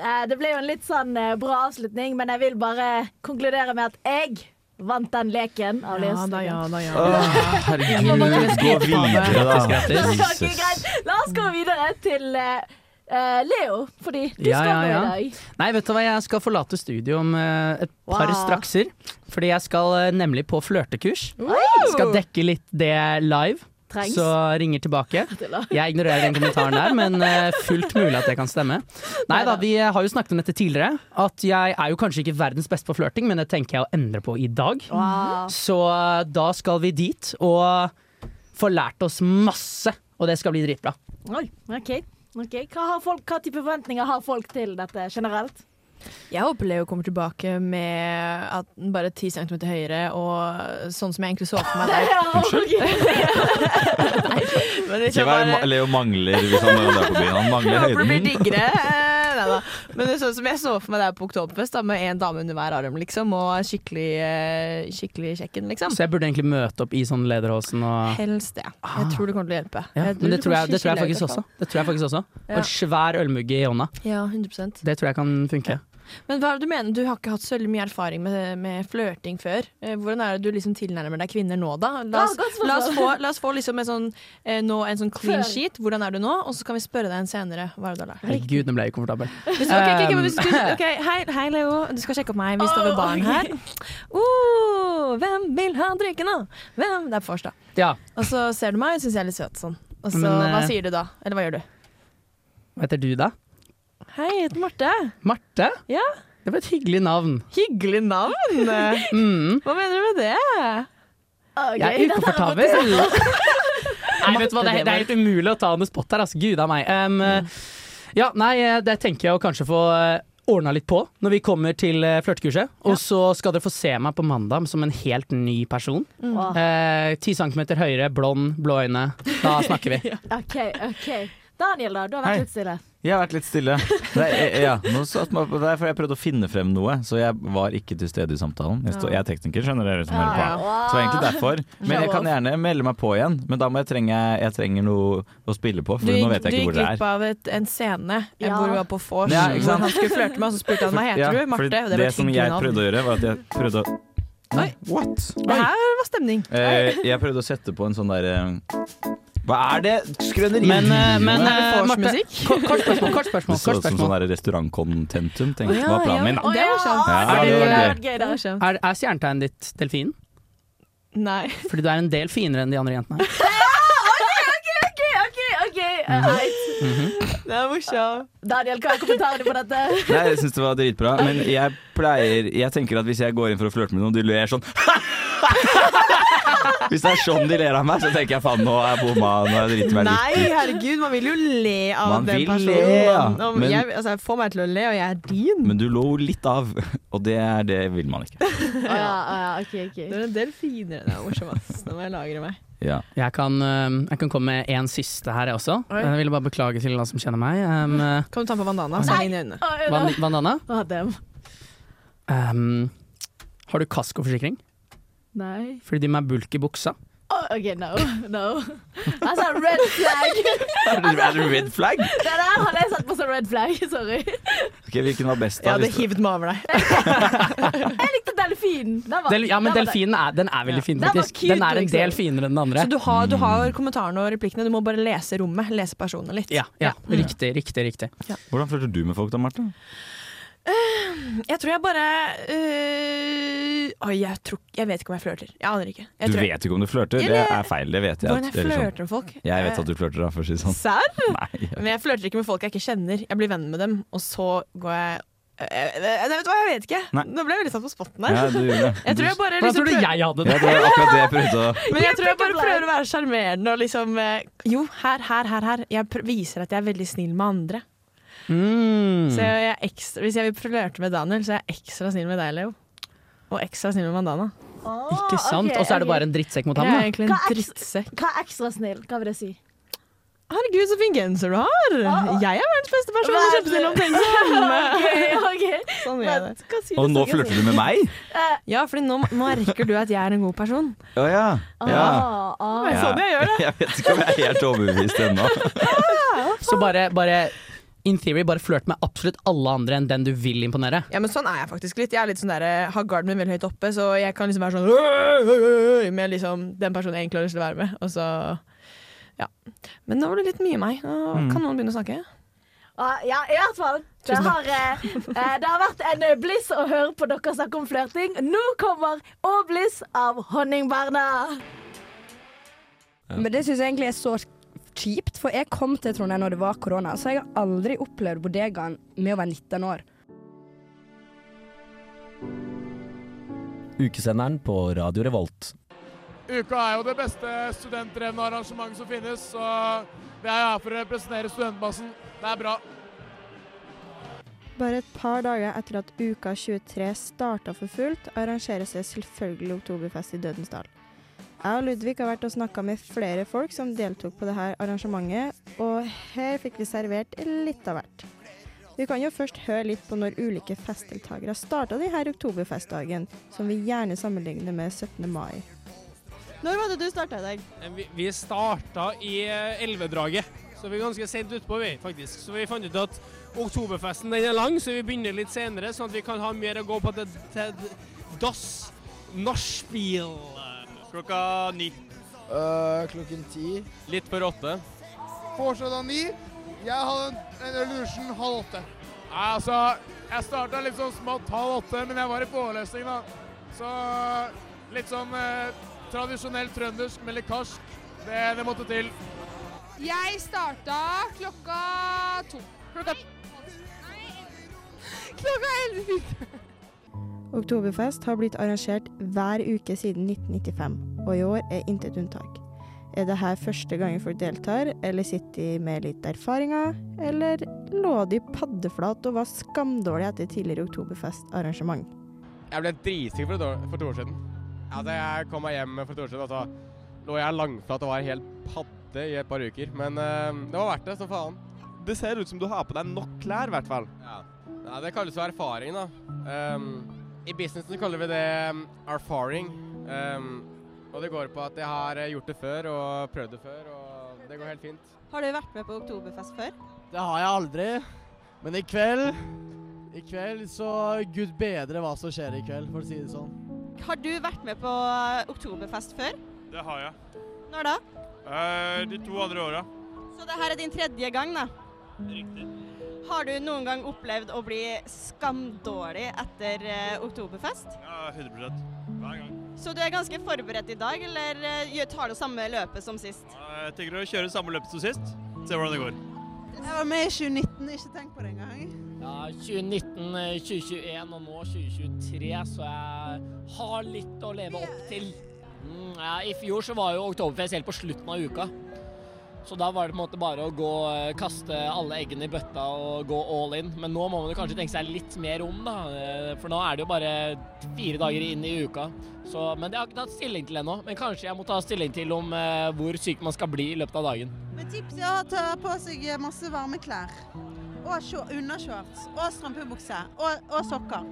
Speaker 4: eh, det ble jo en litt sånn eh, bra avslutning, men jeg vil bare konkludere med at jeg vant den leken av
Speaker 6: Ja
Speaker 4: løsningen.
Speaker 6: da, ja da, ja.
Speaker 7: Åh, herregud, gå videre, da.
Speaker 4: Ok, greit. La oss gå videre til eh, eh, Leo, fordi du
Speaker 5: Ja,
Speaker 4: skal
Speaker 5: ja,
Speaker 4: med
Speaker 5: ja.
Speaker 4: i dag.
Speaker 5: Nei, vet du hva, jeg skal forlate studio om eh, et par
Speaker 4: Wow.
Speaker 5: strakser. Fordi jeg skal eh, nemlig på flørtekurs.
Speaker 4: Wow.
Speaker 5: Skal dekke litt det live.
Speaker 4: Trengs.
Speaker 5: Så ringer tilbake.
Speaker 4: live.
Speaker 5: Jeg ignorerer den kommentaren der, men eh, fullt mulig at det kan stemme. Nei da, vi har jo snakket om dette tidligere. At jeg er jo kanskje ikke verdens beste på flørting, men det tenker jeg å endre på i dag.
Speaker 4: Wow.
Speaker 5: Så eh, da skal vi dit og få lært oss masse, og det skal bli dritbra.
Speaker 4: Oi, ok. ok. Hva, har folk, hva type forventninger har folk til dette generelt?
Speaker 6: Jeg håper Leo kommer tilbake med at den bare er 10 cm høyere og sånn som jeg egentlig så for meg der. Men hvis
Speaker 7: Se
Speaker 6: jeg
Speaker 7: hva
Speaker 6: bare-
Speaker 7: Leo mangler hvis han er på byen. Han
Speaker 6: Jeg
Speaker 7: mangler
Speaker 6: håper det blir
Speaker 7: høyden.
Speaker 6: diggere. Eh, Neida. Men det er sånn som jeg så for meg der på Oktoberfest, da, med en dame under hver arm, liksom, og skikkelig, eh, skikkelig kjekken, liksom.
Speaker 5: Så jeg burde egentlig møte opp i sånn lederhosen og
Speaker 6: Helst det. Jeg tror det kommer til å hjelpe.
Speaker 5: Ah. ja,
Speaker 6: tror
Speaker 5: men
Speaker 6: Eh,
Speaker 5: det
Speaker 6: du
Speaker 5: tror,
Speaker 6: kommer
Speaker 5: jeg, det
Speaker 6: til
Speaker 5: tror
Speaker 6: å
Speaker 5: jeg faktisk
Speaker 6: skille ut,
Speaker 5: også. Det tror jeg faktisk også. Og
Speaker 6: Ja.
Speaker 5: en svær ølmugge i hånda.
Speaker 6: Ja, 100
Speaker 5: Det tror jeg kan funke.
Speaker 6: Men hva er det du mener? Du har ikke hatt så veldig mye erfaring med, med flørting før. Eh, Hvordan er det du liksom tilnærmer deg kvinner nå, da? La oss,
Speaker 4: Ja, Ah, godt spørsmål.
Speaker 6: la oss få, la oss få liksom en, sånn, eh, nå, en sånn clean
Speaker 4: Før.
Speaker 6: sheet. Hvordan er du nå? Og så kan vi spørre deg en senere. Hva er det du har lært?
Speaker 5: Herregud, nå ble jeg ukomfortabel.
Speaker 6: Hvis, ok, ok, ok, men
Speaker 5: Um,
Speaker 6: hvis du, ok, hei, hei, Leo. Du skal sjekke opp meg. Vi står ved baren her. Oh, hvem vil ha drikken, da? Hvem? Det er på torsdag.
Speaker 5: Ja,
Speaker 6: Og så ser du meg, syns jeg er litt søt sånn. Og så,
Speaker 5: Men, eh,
Speaker 6: hva sier du da? Eller hva gjør du?
Speaker 5: hva heter du, da?
Speaker 6: Hei, jeg heter Marte.
Speaker 5: Marte?
Speaker 6: Ja,
Speaker 5: Det var et hyggelig navn.
Speaker 6: hyggelig navn. Hva
Speaker 5: Mm.
Speaker 6: mener du med det?
Speaker 4: Ok,
Speaker 5: Jeg er
Speaker 4: dette her var
Speaker 5: ukomfortabel. Nei, vet du hva, det,
Speaker 6: Marte
Speaker 5: er- det er helt umulig å ta henne spot her, altså. Gud av meg. Um,
Speaker 6: Mm.
Speaker 5: ja, nei, eh, det tenker jeg å kanskje få eh, ordna litt på når vi kommer til eh, flørtekurset. Og så skal dere få se meg på mandag som en helt ny person.
Speaker 6: Mm.
Speaker 4: Åh,
Speaker 5: Eh, 10 cm høyere, blond, blå øyne. Da snakker vi.
Speaker 4: OK, OK. Daniel, da. Du har
Speaker 7: Hei.
Speaker 4: vært litt stille.
Speaker 7: Jeg har vært litt stille. Nei, eh, ja. Nå satt meg på det er fordi jeg prøvde å finne frem noe, så jeg var ikke til stede i samtalen. Jeg, står- jeg er tekniker, skjønner dere som
Speaker 17: Ja,
Speaker 7: hører på.
Speaker 17: ja.
Speaker 7: Så egentlig derfor. Men jeg
Speaker 6: Show
Speaker 7: kan gjerne melde meg på igjen, men da må jeg trenge jeg trenger noe å spille på, for
Speaker 6: Du
Speaker 7: nå
Speaker 6: gikk,
Speaker 7: vet
Speaker 6: du
Speaker 7: jeg ikke
Speaker 6: gikk
Speaker 7: hvor det
Speaker 6: glipp
Speaker 7: er.
Speaker 6: av et, en scene eh, hvor vi var på vors,
Speaker 7: Ja, ikke
Speaker 6: hvor
Speaker 7: sant?
Speaker 6: han skulle flørte med oss, og så spurte han hva heter
Speaker 7: Ja,
Speaker 6: du?
Speaker 7: fordi
Speaker 6: Marte? Og det,
Speaker 7: det
Speaker 6: var et
Speaker 7: som
Speaker 6: hyggelig
Speaker 7: jeg
Speaker 6: navn.
Speaker 7: prøvde å gjøre, var at jeg prøvde å Nei, what?
Speaker 6: Det her var stemning.
Speaker 7: Eh, jeg prøvde å sette på en sånn derre Hva er det? Skrøneriet?
Speaker 5: Men, eh, men, eh,
Speaker 7: Hva er det?
Speaker 5: Marte, kort, kort spørsmål. Kort
Speaker 7: Det
Speaker 5: spørsmål,
Speaker 7: så
Speaker 5: kort
Speaker 7: ut som sånn
Speaker 5: spørsmål.
Speaker 7: der restaurantcontentum, tenkte jeg
Speaker 5: Å,
Speaker 7: var
Speaker 5: ja,
Speaker 7: planen min.
Speaker 5: ja, det var skjønt.
Speaker 7: Ja, det var gøy.
Speaker 6: gøy, det var skjønt.
Speaker 5: Er, er stjernetegnet ditt delfinen?
Speaker 6: Nei.
Speaker 5: Fordi du er en del finere enn de andre jentene. her.
Speaker 4: OK, OK, OK! ok,
Speaker 5: Mm.
Speaker 4: eh, heit.
Speaker 5: Mhm.
Speaker 6: Det er morsomt.
Speaker 4: Daniel, hva er kommentarene på dette?
Speaker 7: Nei, jeg syns det var dritbra, men jeg pleier Jeg tenker at hvis jeg går inn for å flørte med noen, de ler sånn Hvis det er sånn de ler av meg, så tenker jeg faen, nå er jeg bomma, nå er jeg driti meg
Speaker 6: Nei,
Speaker 7: litt ut.
Speaker 6: herregud, man vil jo le av
Speaker 7: Man
Speaker 6: den
Speaker 7: vil
Speaker 6: personen.
Speaker 7: le, ja.
Speaker 6: Om
Speaker 7: Men-
Speaker 6: jeg, altså, jeg får meg til å le, og jeg er din.
Speaker 7: Men du lo litt av, og det, er- det vil man ikke.
Speaker 6: ja, Det er en del finere. Det er morsomt, ass. Nå må jeg lagre meg.
Speaker 5: Jeg, kan, eh, jeg kan komme med en siste her, jeg også.
Speaker 6: Oi.
Speaker 5: Jeg ville bare beklage til alle som kjenner meg. Um, eh,
Speaker 6: Kan du ta på bandana? Så
Speaker 5: Nei.
Speaker 6: inn i øynene.
Speaker 5: Van- Vandana,
Speaker 4: Ah, damn.
Speaker 5: um, har du kaskoforsikring?
Speaker 4: Nei.
Speaker 5: Fordi de med bulk i buksa.
Speaker 4: Å, OK, no. No. Altså, red flag.
Speaker 7: Er du- er du red flag?
Speaker 4: Det der hadde jeg satt på som red flag. Sorry.
Speaker 7: Ok, Hvilken var best,
Speaker 6: Jeg
Speaker 7: da?
Speaker 6: hadde
Speaker 7: hvis du-
Speaker 6: hivd meg over deg.
Speaker 4: Jeg likte delfinen. Den var-
Speaker 5: Del, ja, men
Speaker 4: den var-
Speaker 5: delfinen er, den er veldig fin,
Speaker 6: Den var
Speaker 5: faktisk.
Speaker 6: cute,
Speaker 5: Den er en del
Speaker 6: liksom.
Speaker 5: finere enn den andre.
Speaker 6: Så du har, du har kommentarene og replikkene, du må bare lese rommet. Lese personene litt.
Speaker 5: Ja, ja,
Speaker 6: Mm.
Speaker 5: riktig, riktig. riktig
Speaker 7: Hvordan flørter du med folk da, Marte?
Speaker 6: Jeg tror jeg bare øh, Oi, jeg, tror, jeg vet ikke om jeg flørter. Jeg aner ikke. Jeg
Speaker 7: Du
Speaker 6: tror-
Speaker 7: vet ikke om du flørter? Det
Speaker 6: Eller-
Speaker 7: er feil, det vet jeg.
Speaker 6: Hvordan jeg
Speaker 7: Eller sånn.
Speaker 6: flørter med folk?
Speaker 7: Jeg vet at du flørter, da, for å si det sånn.
Speaker 6: Serr?
Speaker 7: Nei.
Speaker 6: Men jeg flørter ikke med folk jeg ikke kjenner. Jeg blir venn med dem, og så går jeg Eh, Nei, vet du hva, jeg vet ikke.
Speaker 7: Nei.
Speaker 6: Nå ble jeg veldig satt på spotten her.
Speaker 7: Ja, du gjorde det.
Speaker 6: Jeg tror jeg bare
Speaker 5: Hvordan
Speaker 6: liksom
Speaker 5: tror du
Speaker 6: prøver-
Speaker 5: jeg hadde
Speaker 7: Ja, det var akkurat det jeg prøvde å
Speaker 6: Men jeg tror jeg bare prøver å være sjarmerende og liksom eh, Jo, her, her, her. her Jeg pr viser at jeg er veldig snill med andre.
Speaker 5: Mm.
Speaker 6: Så jeg er ekstra, hvis jeg vil flørte med Daniel, så er jeg ekstra snill med deg, Leo. Og ekstra snill med Mandana.
Speaker 5: Ikke sant?
Speaker 6: Ah, ok,
Speaker 5: Og så er
Speaker 6: ok.
Speaker 5: du bare en drittsekk mot
Speaker 6: Jeg
Speaker 5: ham,
Speaker 6: er
Speaker 5: da.
Speaker 6: egentlig en drittsekk.
Speaker 4: Hva er ekstra snill? Hva vil det si?
Speaker 6: Herregud, så fin genser du har! sånn, Jeg er verdens beste person! Du er kjempesnill og omtenksom!
Speaker 4: Ok, ok.
Speaker 6: Sånn er det.
Speaker 7: Og nå flørter du med meg?
Speaker 6: Ja, for nå merker du at jeg er en god person.
Speaker 7: Å ja. ja.
Speaker 6: Ah, Det er sånn jeg gjør det.
Speaker 7: Jeg vet ikke om jeg er helt overbevist ennå.
Speaker 5: Så bare, bare In theory, bare flørt med absolutt alle andre enn den du vil imponere.
Speaker 6: Ja, men sånn er jeg faktisk litt. Jeg er litt sånn der, eh, har garden min veldig høyt oppe, så jeg kan liksom være sånn «Øy, øy, øy», med liksom den personen jeg egentlig har lyst til å være med. Og så, ja. Men nå var det litt mye meg. Nå
Speaker 7: Mm.
Speaker 6: kan noen begynne å snakke.
Speaker 4: Ah, Ja, i hvert fall. Det
Speaker 6: Tusen
Speaker 4: har, eh, eh, det har vært en eh, bliss å høre på dere snakke om flørting. Nå kommer Å bliss av Honningbarna.
Speaker 2: Men det syns jeg egentlig er så kjipt, for jeg kom til Trondheim når det var korona, så jeg har aldri opplevd bodegaen med å være 19 år.
Speaker 18: Ukesenderen på Radio Revolt.
Speaker 9: Uka er jo det beste studentdrevne arrangementet som finnes, så vi er her for å representere studentmassen. Det er bra.
Speaker 19: Bare et par dager etter at Uka 23 starta for fullt, arrangeres det selvfølgelig oktoberfest i Dødens Dal. Jeg og Ludvig har vært og snakka med flere folk som deltok på dette arrangementet, og her fikk vi servert litt av hvert. Vi kan jo først høre litt på når ulike festdeltakere starta denne oktoberfestdagen, som vi gjerne sammenligner med 17. mai. Når var det du starta i dag?
Speaker 20: Vi, vi starta i eh, elvedraget, så vi er ganske sent utpå, vi, faktisk. Så vi fant ut at oktoberfesten den er lang, så vi begynner litt senere, sånn at vi kan ha mer å gå på til, til dass, nachspiel. Klokka ni.
Speaker 10: Eh,
Speaker 21: klokken ti.
Speaker 20: Litt før åtte.
Speaker 9: Foreslått av ni. Jeg hadde en, en illusion halv åtte. Nei, Altså, jeg starta litt sånn smått halv åtte, men jeg var i forelesning, da. Så litt sånn eh, tradisjonell trøndersk med litt karsk. Det, det måtte til.
Speaker 22: Jeg starta klokka to. Klokka Klokka elleve.
Speaker 19: Oktoberfest har blitt arrangert hver uke siden 1995, og i år er intet unntak. Er det her første gangen folk deltar, eller sitter de med litt erfaringer, eller lå de paddeflat og var skamdårlige etter tidligere oktoberfestarrangement?
Speaker 20: Jeg ble dritsyk for, et år- for to år siden. Altså, jeg kom meg hjem for to år siden, altså, og så lå jeg langflat og var helt padde i et par uker. Men eh, det var ehm, verdt det, så faen.
Speaker 23: det ser ut som du har på deg nok klær, i hvert fall.
Speaker 24: Ja. Nei, det kalles jo erfaring, da. Ehm, I businessen kaller vi det um, erfaring. Ehm, og det går på at jeg har eh, gjort det før og prøvd det før, og det går helt fint.
Speaker 19: Har du vært med på Oktoberfest før?
Speaker 10: Det har jeg aldri. Men i kveld I kveld så Gud bedre hva som skjer i kveld, for å si det sånn.
Speaker 19: Har du vært med på eh, Oktoberfest før?
Speaker 25: Det har jeg.
Speaker 19: Når da?
Speaker 25: Eh, de to andre åra.
Speaker 19: Så det her er din tredje gang, da.
Speaker 25: Riktig.
Speaker 19: Har du noen gang opplevd å bli skamdårlig etter eh, Oktoberfest?
Speaker 25: Ja, 100 Hver gang.
Speaker 19: Så du er ganske forberedt i dag, eller eh, gjør- tar du samme løpet som sist?
Speaker 25: Jeg tenker å kjøre samme løpet som sist. Se hvordan det går.
Speaker 26: Jeg var med i 2019, ikke tenk på det engang.
Speaker 20: Ja, 2019, eh, 2021 og nå 2023, så jeg har litt å leve opp til. Mm, ja, I fjor så var jo Oktoberfest helt på slutten av uka. Så da var det på en måte bare å gå, eh, kaste alle eggene i bøtta og gå all in. Men nå må man jo kanskje tenke seg litt mer om, da. eh, For nå er det jo bare fire dager inn i uka. Så, men det har jeg ikke tatt stilling til ennå. Men kanskje jeg må ta stilling til om eh, hvor syk man skal bli i løpet av dagen.
Speaker 26: Men tips er å ta på seg masse varme klær. Og shor- undershorts. Og strømpebukse. Og, og sokker.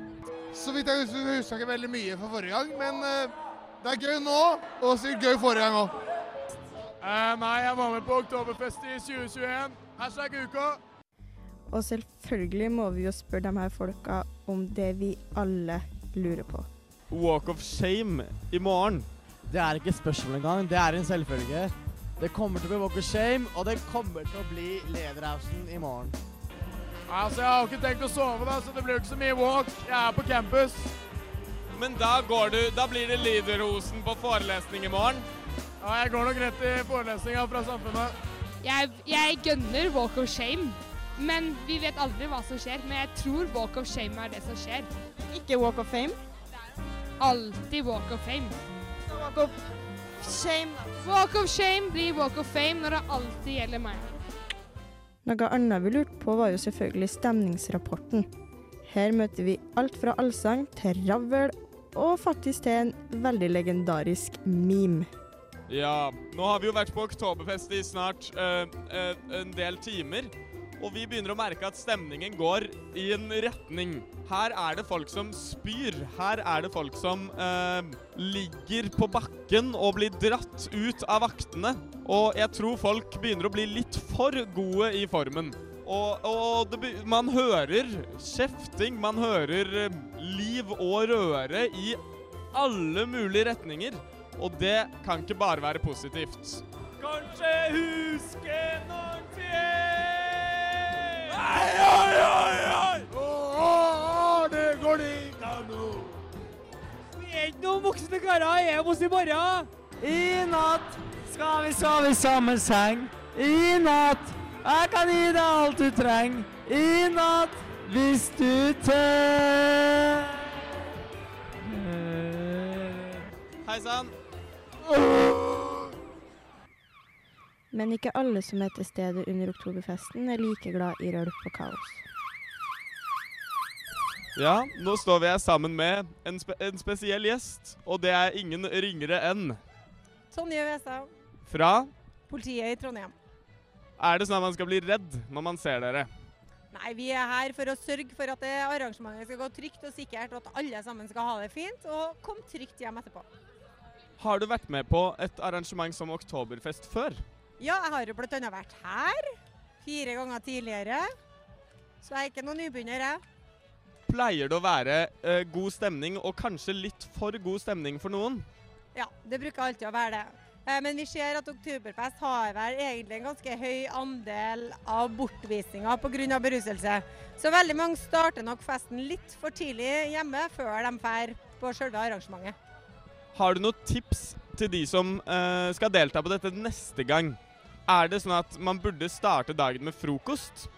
Speaker 27: Så vidt jeg husker, husker jeg ikke veldig mye fra forrige gang, men eh, det er gøy nå, og sikkert gøy forrige gang òg. Eh, nei, jeg var med på Oktoberfest i 2021. Hashtag uka.
Speaker 19: Og selvfølgelig må vi jo spørre de her folka om det vi alle lurer på.
Speaker 28: Walk of shame i morgen.
Speaker 10: Det er ikke spørsmål engang. Det er en selvfølge. Det kommer til å bli walk of shame, og det kommer til å bli Lederhausen i morgen.
Speaker 27: Altså, Jeg har ikke tenkt å sove, da, så det blir jo ikke så mye walk. Jeg er på campus.
Speaker 25: Men da, går du, da blir det Liderosen på forelesning i morgen.
Speaker 27: Ja, jeg går nok rett i forelesninga fra Samfunnet.
Speaker 22: Jeg, jeg gønner walk of shame, men vi vet aldri hva som skjer. Men jeg tror walk of shame er det som skjer.
Speaker 19: Ikke walk of fame?
Speaker 22: Alltid walk of fame.
Speaker 19: Walk of shame.
Speaker 22: Walk of shame blir walk of fame når det alltid gjelder meg.
Speaker 19: Noe annet vi lurte på, var jo selvfølgelig stemningsrapporten. Her møter vi alt fra allsang til ravl, og faktisk til en veldig legendarisk meme.
Speaker 25: Ja, nå har vi jo vært på Oktoberfest i snart eh, eh, en del timer. Og vi begynner å merke at stemningen går i en retning. Her er det folk som spyr. Her er det folk som eh, ligger på bakken og blir dratt ut av vaktene. Og jeg tror folk begynner å bli litt for gode i formen. Og, og det, be- man hører kjefting, man hører eh, liv og røre i alle mulige retninger. Og det kan ikke bare være positivt.
Speaker 27: Kanskje huske noen fjell Oi,
Speaker 25: oi, oi,
Speaker 27: oi! Å, å, å, det går like nå.
Speaker 1: Vi er ikke noen voksne karer hjemme hos i morgen. I natt skal vi sove i samme seng. I natt jeg kan gi deg alt du trenger. I natt hvis du tør.
Speaker 25: Hei sann.
Speaker 19: Men ikke alle som er til stede under oktoberfesten, er like glad i rølp og kaos.
Speaker 25: Ja, nå står vi her sammen med en, spe en spesiell gjest, og det er ingen ringere enn
Speaker 29: Tonje Westad,
Speaker 25: Fra
Speaker 29: politiet i Trondheim.
Speaker 25: er det sånn at man skal bli redd når man ser dere?
Speaker 29: Nei, vi er her for å sørge for at det arrangementet skal gå trygt og sikkert, og at alle sammen skal ha det fint og komme trygt hjem etterpå.
Speaker 25: Har du vært med på et arrangement som Oktoberfest før?
Speaker 29: Ja, jeg har jo bl.a. vært her fire ganger tidligere, så jeg er ikke noen nybegynner, jeg.
Speaker 25: Pleier det å være eh, god stemning, og kanskje litt for god stemning for noen?
Speaker 29: Ja, det bruker alltid å være det. Eh, Men vi ser at Oktoberfest har vel egentlig en ganske høy andel av bortvisninger pga. beruselse. Så veldig mange starter nok festen litt for tidlig hjemme før de drar på selve arrangementet.
Speaker 25: Har du noen tips til de som eh, skal delta på dette neste gang? Er det sånn at man burde starte dagen med frokost?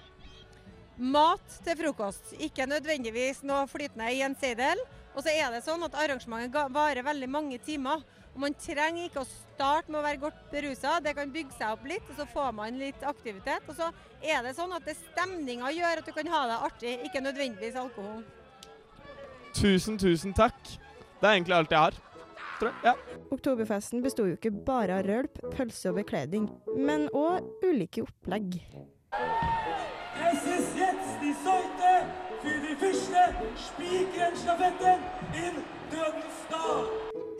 Speaker 29: Mat til frokost, ikke nødvendigvis noe flytende i en seidel. Og så er det sånn at arrangementet ga- varer veldig mange timer. Og man trenger ikke å starte med å være godt berusa, det kan bygge seg opp litt, og så får man litt aktivitet. Og så er det sånn at det stemninga gjør at du kan ha det artig, ikke nødvendigvis alkohol.
Speaker 25: Tusen, tusen takk. Det er egentlig alt jeg har. Tror jeg. Ja.
Speaker 19: Oktoberfesten besto jo ikke bare av rølp, pølse og bekledning, men òg ulike opplegg.
Speaker 1: Es ist jetzt die Seite für die Fischle Spikrenstafetten in Dødensdal.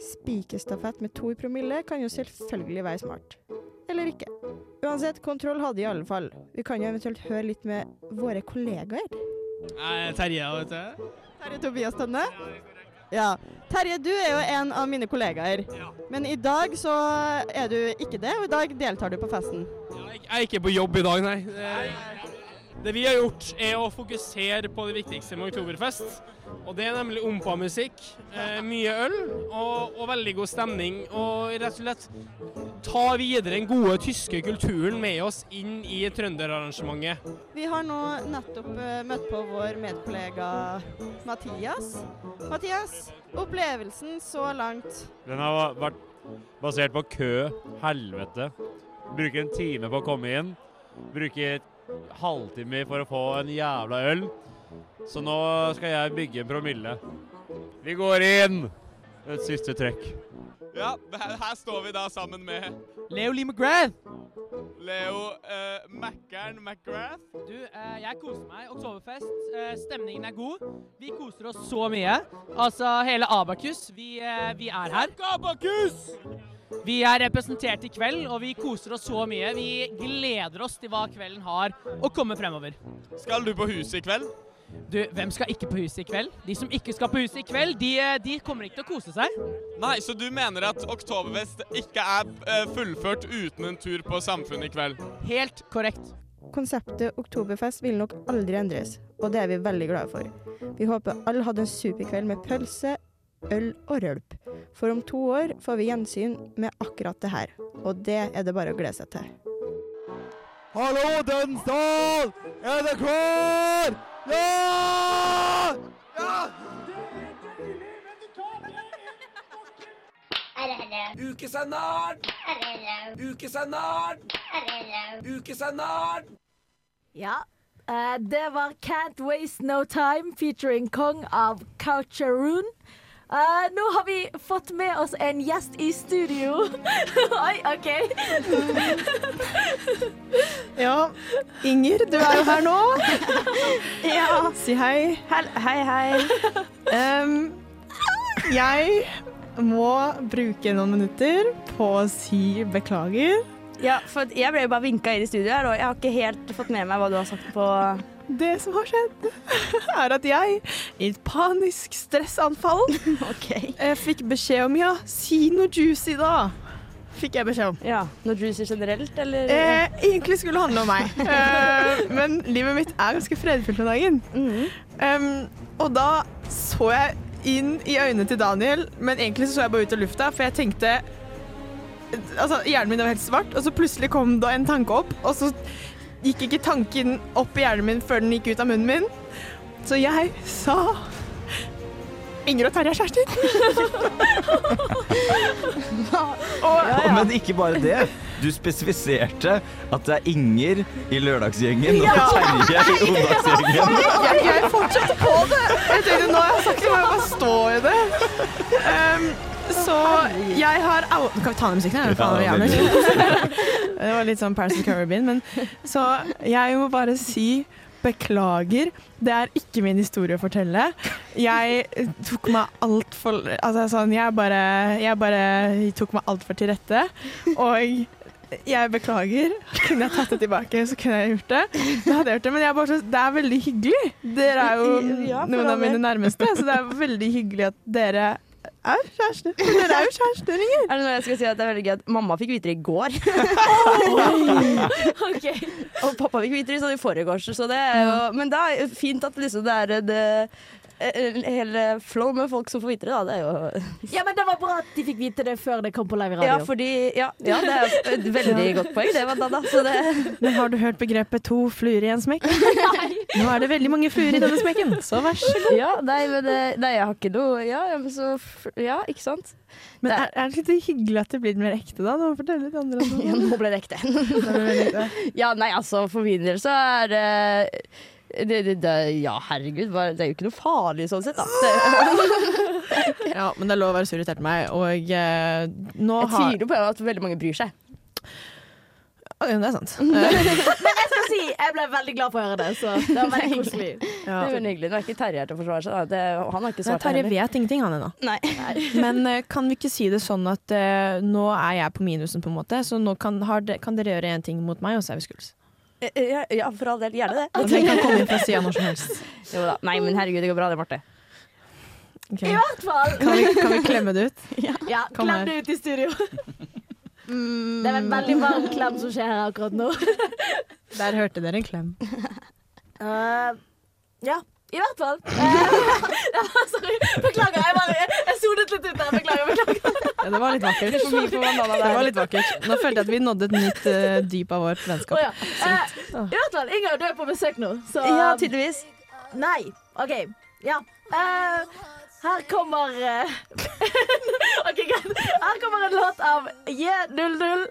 Speaker 19: Spikerstafett med to i promille kan jo selvfølgelig være smart. Eller ikke. Uansett, kontroll hadde i alle fall. Vi kan jo eventuelt høre litt med våre kollegaer.
Speaker 24: Nei, Terje, vet du.
Speaker 19: Terje Tobias Tønne. Ja. Terje, du er jo en av mine kollegaer. Men i dag så er du ikke det, og i dag deltar du på festen.
Speaker 24: Jeg er ikke på jobb i dag, nei. Det, det vi har gjort, er å fokusere på det viktigste med Oktoberfest. Og det er nemlig ompa-musikk, eh, mye øl og, og veldig god stemning. Og rett og slett ta videre den gode tyske kulturen med oss inn i trønderarrangementet.
Speaker 19: Vi har nå nettopp eh, møtt på vår medkollega Mathias. Mathias, opplevelsen så langt.
Speaker 20: Den har vært basert på kø, helvete. Bruke en time på å komme inn. Bruke halvtime for å få en jævla øl. Så nå skal jeg bygge en promille. Vi går inn! Et siste trekk.
Speaker 25: Ja, her her står vi da sammen med
Speaker 30: Leo Lee McGrath.
Speaker 25: Leo eh, Mackern McGrath.
Speaker 5: Du, eh, jeg koser meg. Oktoberfest. Eh, stemningen er god. Vi koser oss så mye. Altså, hele Abakus, vi, eh, vi er her. Abakus! Vi er representert i kveld, og vi koser oss så mye. Vi gleder oss til hva kvelden har å komme fremover.
Speaker 25: Skal du på huset i kveld?
Speaker 5: Du, hvem skal ikke på huset i kveld? De som ikke skal på huset i kveld, de, eh, de kommer ikke til å kose seg.
Speaker 25: Nei, så du mener at Oktoberfest ikke er eh, fullført uten en tur på Samfunnet i kveld?
Speaker 5: Helt korrekt.
Speaker 19: Konseptet Oktoberfest vil nok aldri endres, og det er vi veldig glade for. Vi håper alle hadde en superkveld med pølse, øl og rølp. For om to år får vi gjensyn med akkurat det her, og det er det bare å glede seg til.
Speaker 31: Hallo, Dønsdal! Er det klar? Ja!
Speaker 1: Ukesenderen! Ukesenderen! Ukesenderen!
Speaker 4: Ja. eh, det var Can't Waste No Time featuring Kong av Coucharoon. Eh, nå har vi fått med oss en gjest i studio. Oi, OK.
Speaker 6: Ja, Inger, du er jo her nå. Ja. Si hei. hei, hei. jeg må bruke noen minutter på å si beklager. Ja, for jeg ble jo bare vinka inn i studio her, og jeg har ikke helt fått med meg hva du har sagt på Det som har skjedd, er at jeg i et panisk stressanfall eh, fikk beskjed om ja, si noe juicy da. Fikk jeg beskjed om. Ja, Noe juicy generelt, eller? Eh, egentlig skulle det handle om meg, eh, men livet mitt er ganske fredfullt om dagen. Em, og da så jeg inn i øynene til Daniel, men egentlig så, så jeg bare ut av lufta, for jeg tenkte Altså, hjernen min var helt svart, og så plutselig kom da en tanke opp, og så gikk ikke tanken opp i hjernen min før den gikk ut av munnen min. Så jeg sa Inger og Terje er kjærester. og
Speaker 7: Men ikke bare det. Du spesifiserte at det er Inger i lørdagsgjengen og
Speaker 6: Ja.
Speaker 7: Terje i onsdagsgjengen.
Speaker 6: Jeg, jeg fortsatte på det. Jeg tenkte nå har jeg sagt det, må jeg bare stå i det. Ehm, så jeg har au- Kan vi ta ned musikken? her? Faen, Ja, det er veldig. jævlig. Det var litt sånn Paris and Caribbean. Men, så jeg må bare si beklager. Det er ikke min historie å fortelle. Jeg tok meg altfor Altså sånn, jeg bare, jeg bare tok meg altfor til rette. Og jeg beklager. Kunne jeg tatt det tilbake, så kunne jeg gjort det. Da hadde jeg gjort det, Men jeg er bare så, det er veldig hyggelig. Dere er jo Ja, for noen all av mine del. nærmeste, så det er veldig hyggelig at dere er kjærester. For dere er jo kjærester, Inger. Er det noe jeg skal si at det er veldig gøy at mamma fikk vite det i går? Og pappa fikk vite det sånn i forgårs, så det er jo Men det er jo fint at liksom det er en eh, en hel flow med folk som får vite det, da. Det er jo
Speaker 4: Ja, men det var bra at de fikk vite det før det kom på live radio.
Speaker 6: Ja, fordi Ja, ja det er jo et veldig godt poeng, det, Madonna. Så det Men har du hørt begrepet to fluer i en smekk? Nå er det veldig mange fluer i denne smekken, så vær så god. Ja, nei, men eh, nei, jeg har ikke noe Ja, ja, men så f- Ja, ikke sant? Men er, er det litt hyggelig at det blir mer ekte, da? Nå forteller litt andre om det. Ja, nå ble det ekte. ja, nei, altså, for min del så er det
Speaker 3: eh,
Speaker 6: det, det, det, ja, herregud. hva- Det er jo ikke noe farlig sånn sett, da. Det, Ja, men det er lov å være sur irritert på meg, og eh, nå Jeg har- tviler på at veldig mange bryr seg. Å, ja, det er
Speaker 4: Mm.
Speaker 6: sant.
Speaker 4: Men jeg skal si jeg ble veldig glad for å høre det, så det var veldig koselig.
Speaker 3: Det er veldig hyggelig. Nå er ikke Terje her til å forsvare seg. Da. Det, han har ikke
Speaker 6: Nei,
Speaker 3: svart
Speaker 6: Terje vet ingenting han ennå. Men eh, kan vi ikke si det sånn at eh, nå er jeg på minusen, på en måte, så nå kan, har de, kan dere gjøre én ting mot meg, og så er vi skuls.
Speaker 3: Ja, ja, for all del. Gjerne det.
Speaker 6: At dere kan komme inn fra sida når som helst.
Speaker 3: Jo da. Nei, men herregud, det går bra det, Marte.
Speaker 4: I hvert fall.
Speaker 6: Kan vi, kan vi klemme det ut?
Speaker 4: Ja,
Speaker 6: Kom her.
Speaker 4: klem det ut i studio. Det er en veldig varm klem som skjer her akkurat nå.
Speaker 6: Der hørte dere en klem.
Speaker 4: Eh, ja, i hvert fall. Eh, ja, sorry. Beklager, jeg, bare, jeg sonet litt ut der. Beklager. beklager.
Speaker 6: Ja, det var litt vakkert.
Speaker 4: Det er for mye for bandana der.
Speaker 6: Det var litt vakkert. Nå følte jeg at vi nådde et nytt eh, dyp av vårt
Speaker 4: Å,
Speaker 6: vennskap.
Speaker 4: ja. Eh, I hvert fall, Inger, du er på besøk nå. Så,
Speaker 6: Ja,
Speaker 4: tydeligvis. Nei. OK. Ja. Eh, her kommer eh, OK, greit. Her kommer en låt av J00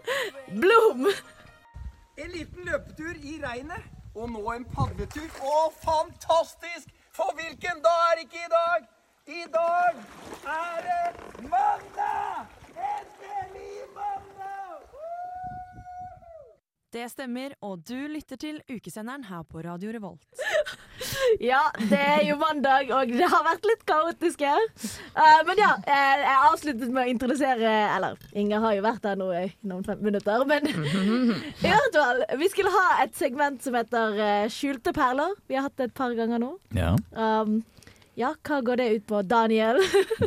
Speaker 4: Blom.
Speaker 1: En liten løpetur i regnet, og nå en padletur. Å, fantastisk! For hvilken dag er ikke i dag? I dag er det mandag! Endelig mandag!
Speaker 32: Det stemmer, og du lytter til ukesenderen her på Radio Revolt.
Speaker 4: Ja, det er jo mandag, og det har vært litt kaotisk her. Eh, men ja, eh, jeg avsluttet med å introdusere Eller, Inger har jo vært her nå i noen fem minutter, men i hvert fall. Vi skulle ha et segment som heter eh, Skjulte perler. Vi har hatt det et par ganger nå.
Speaker 7: Ja.
Speaker 4: Um, ja, hva går det ut på, Daniel?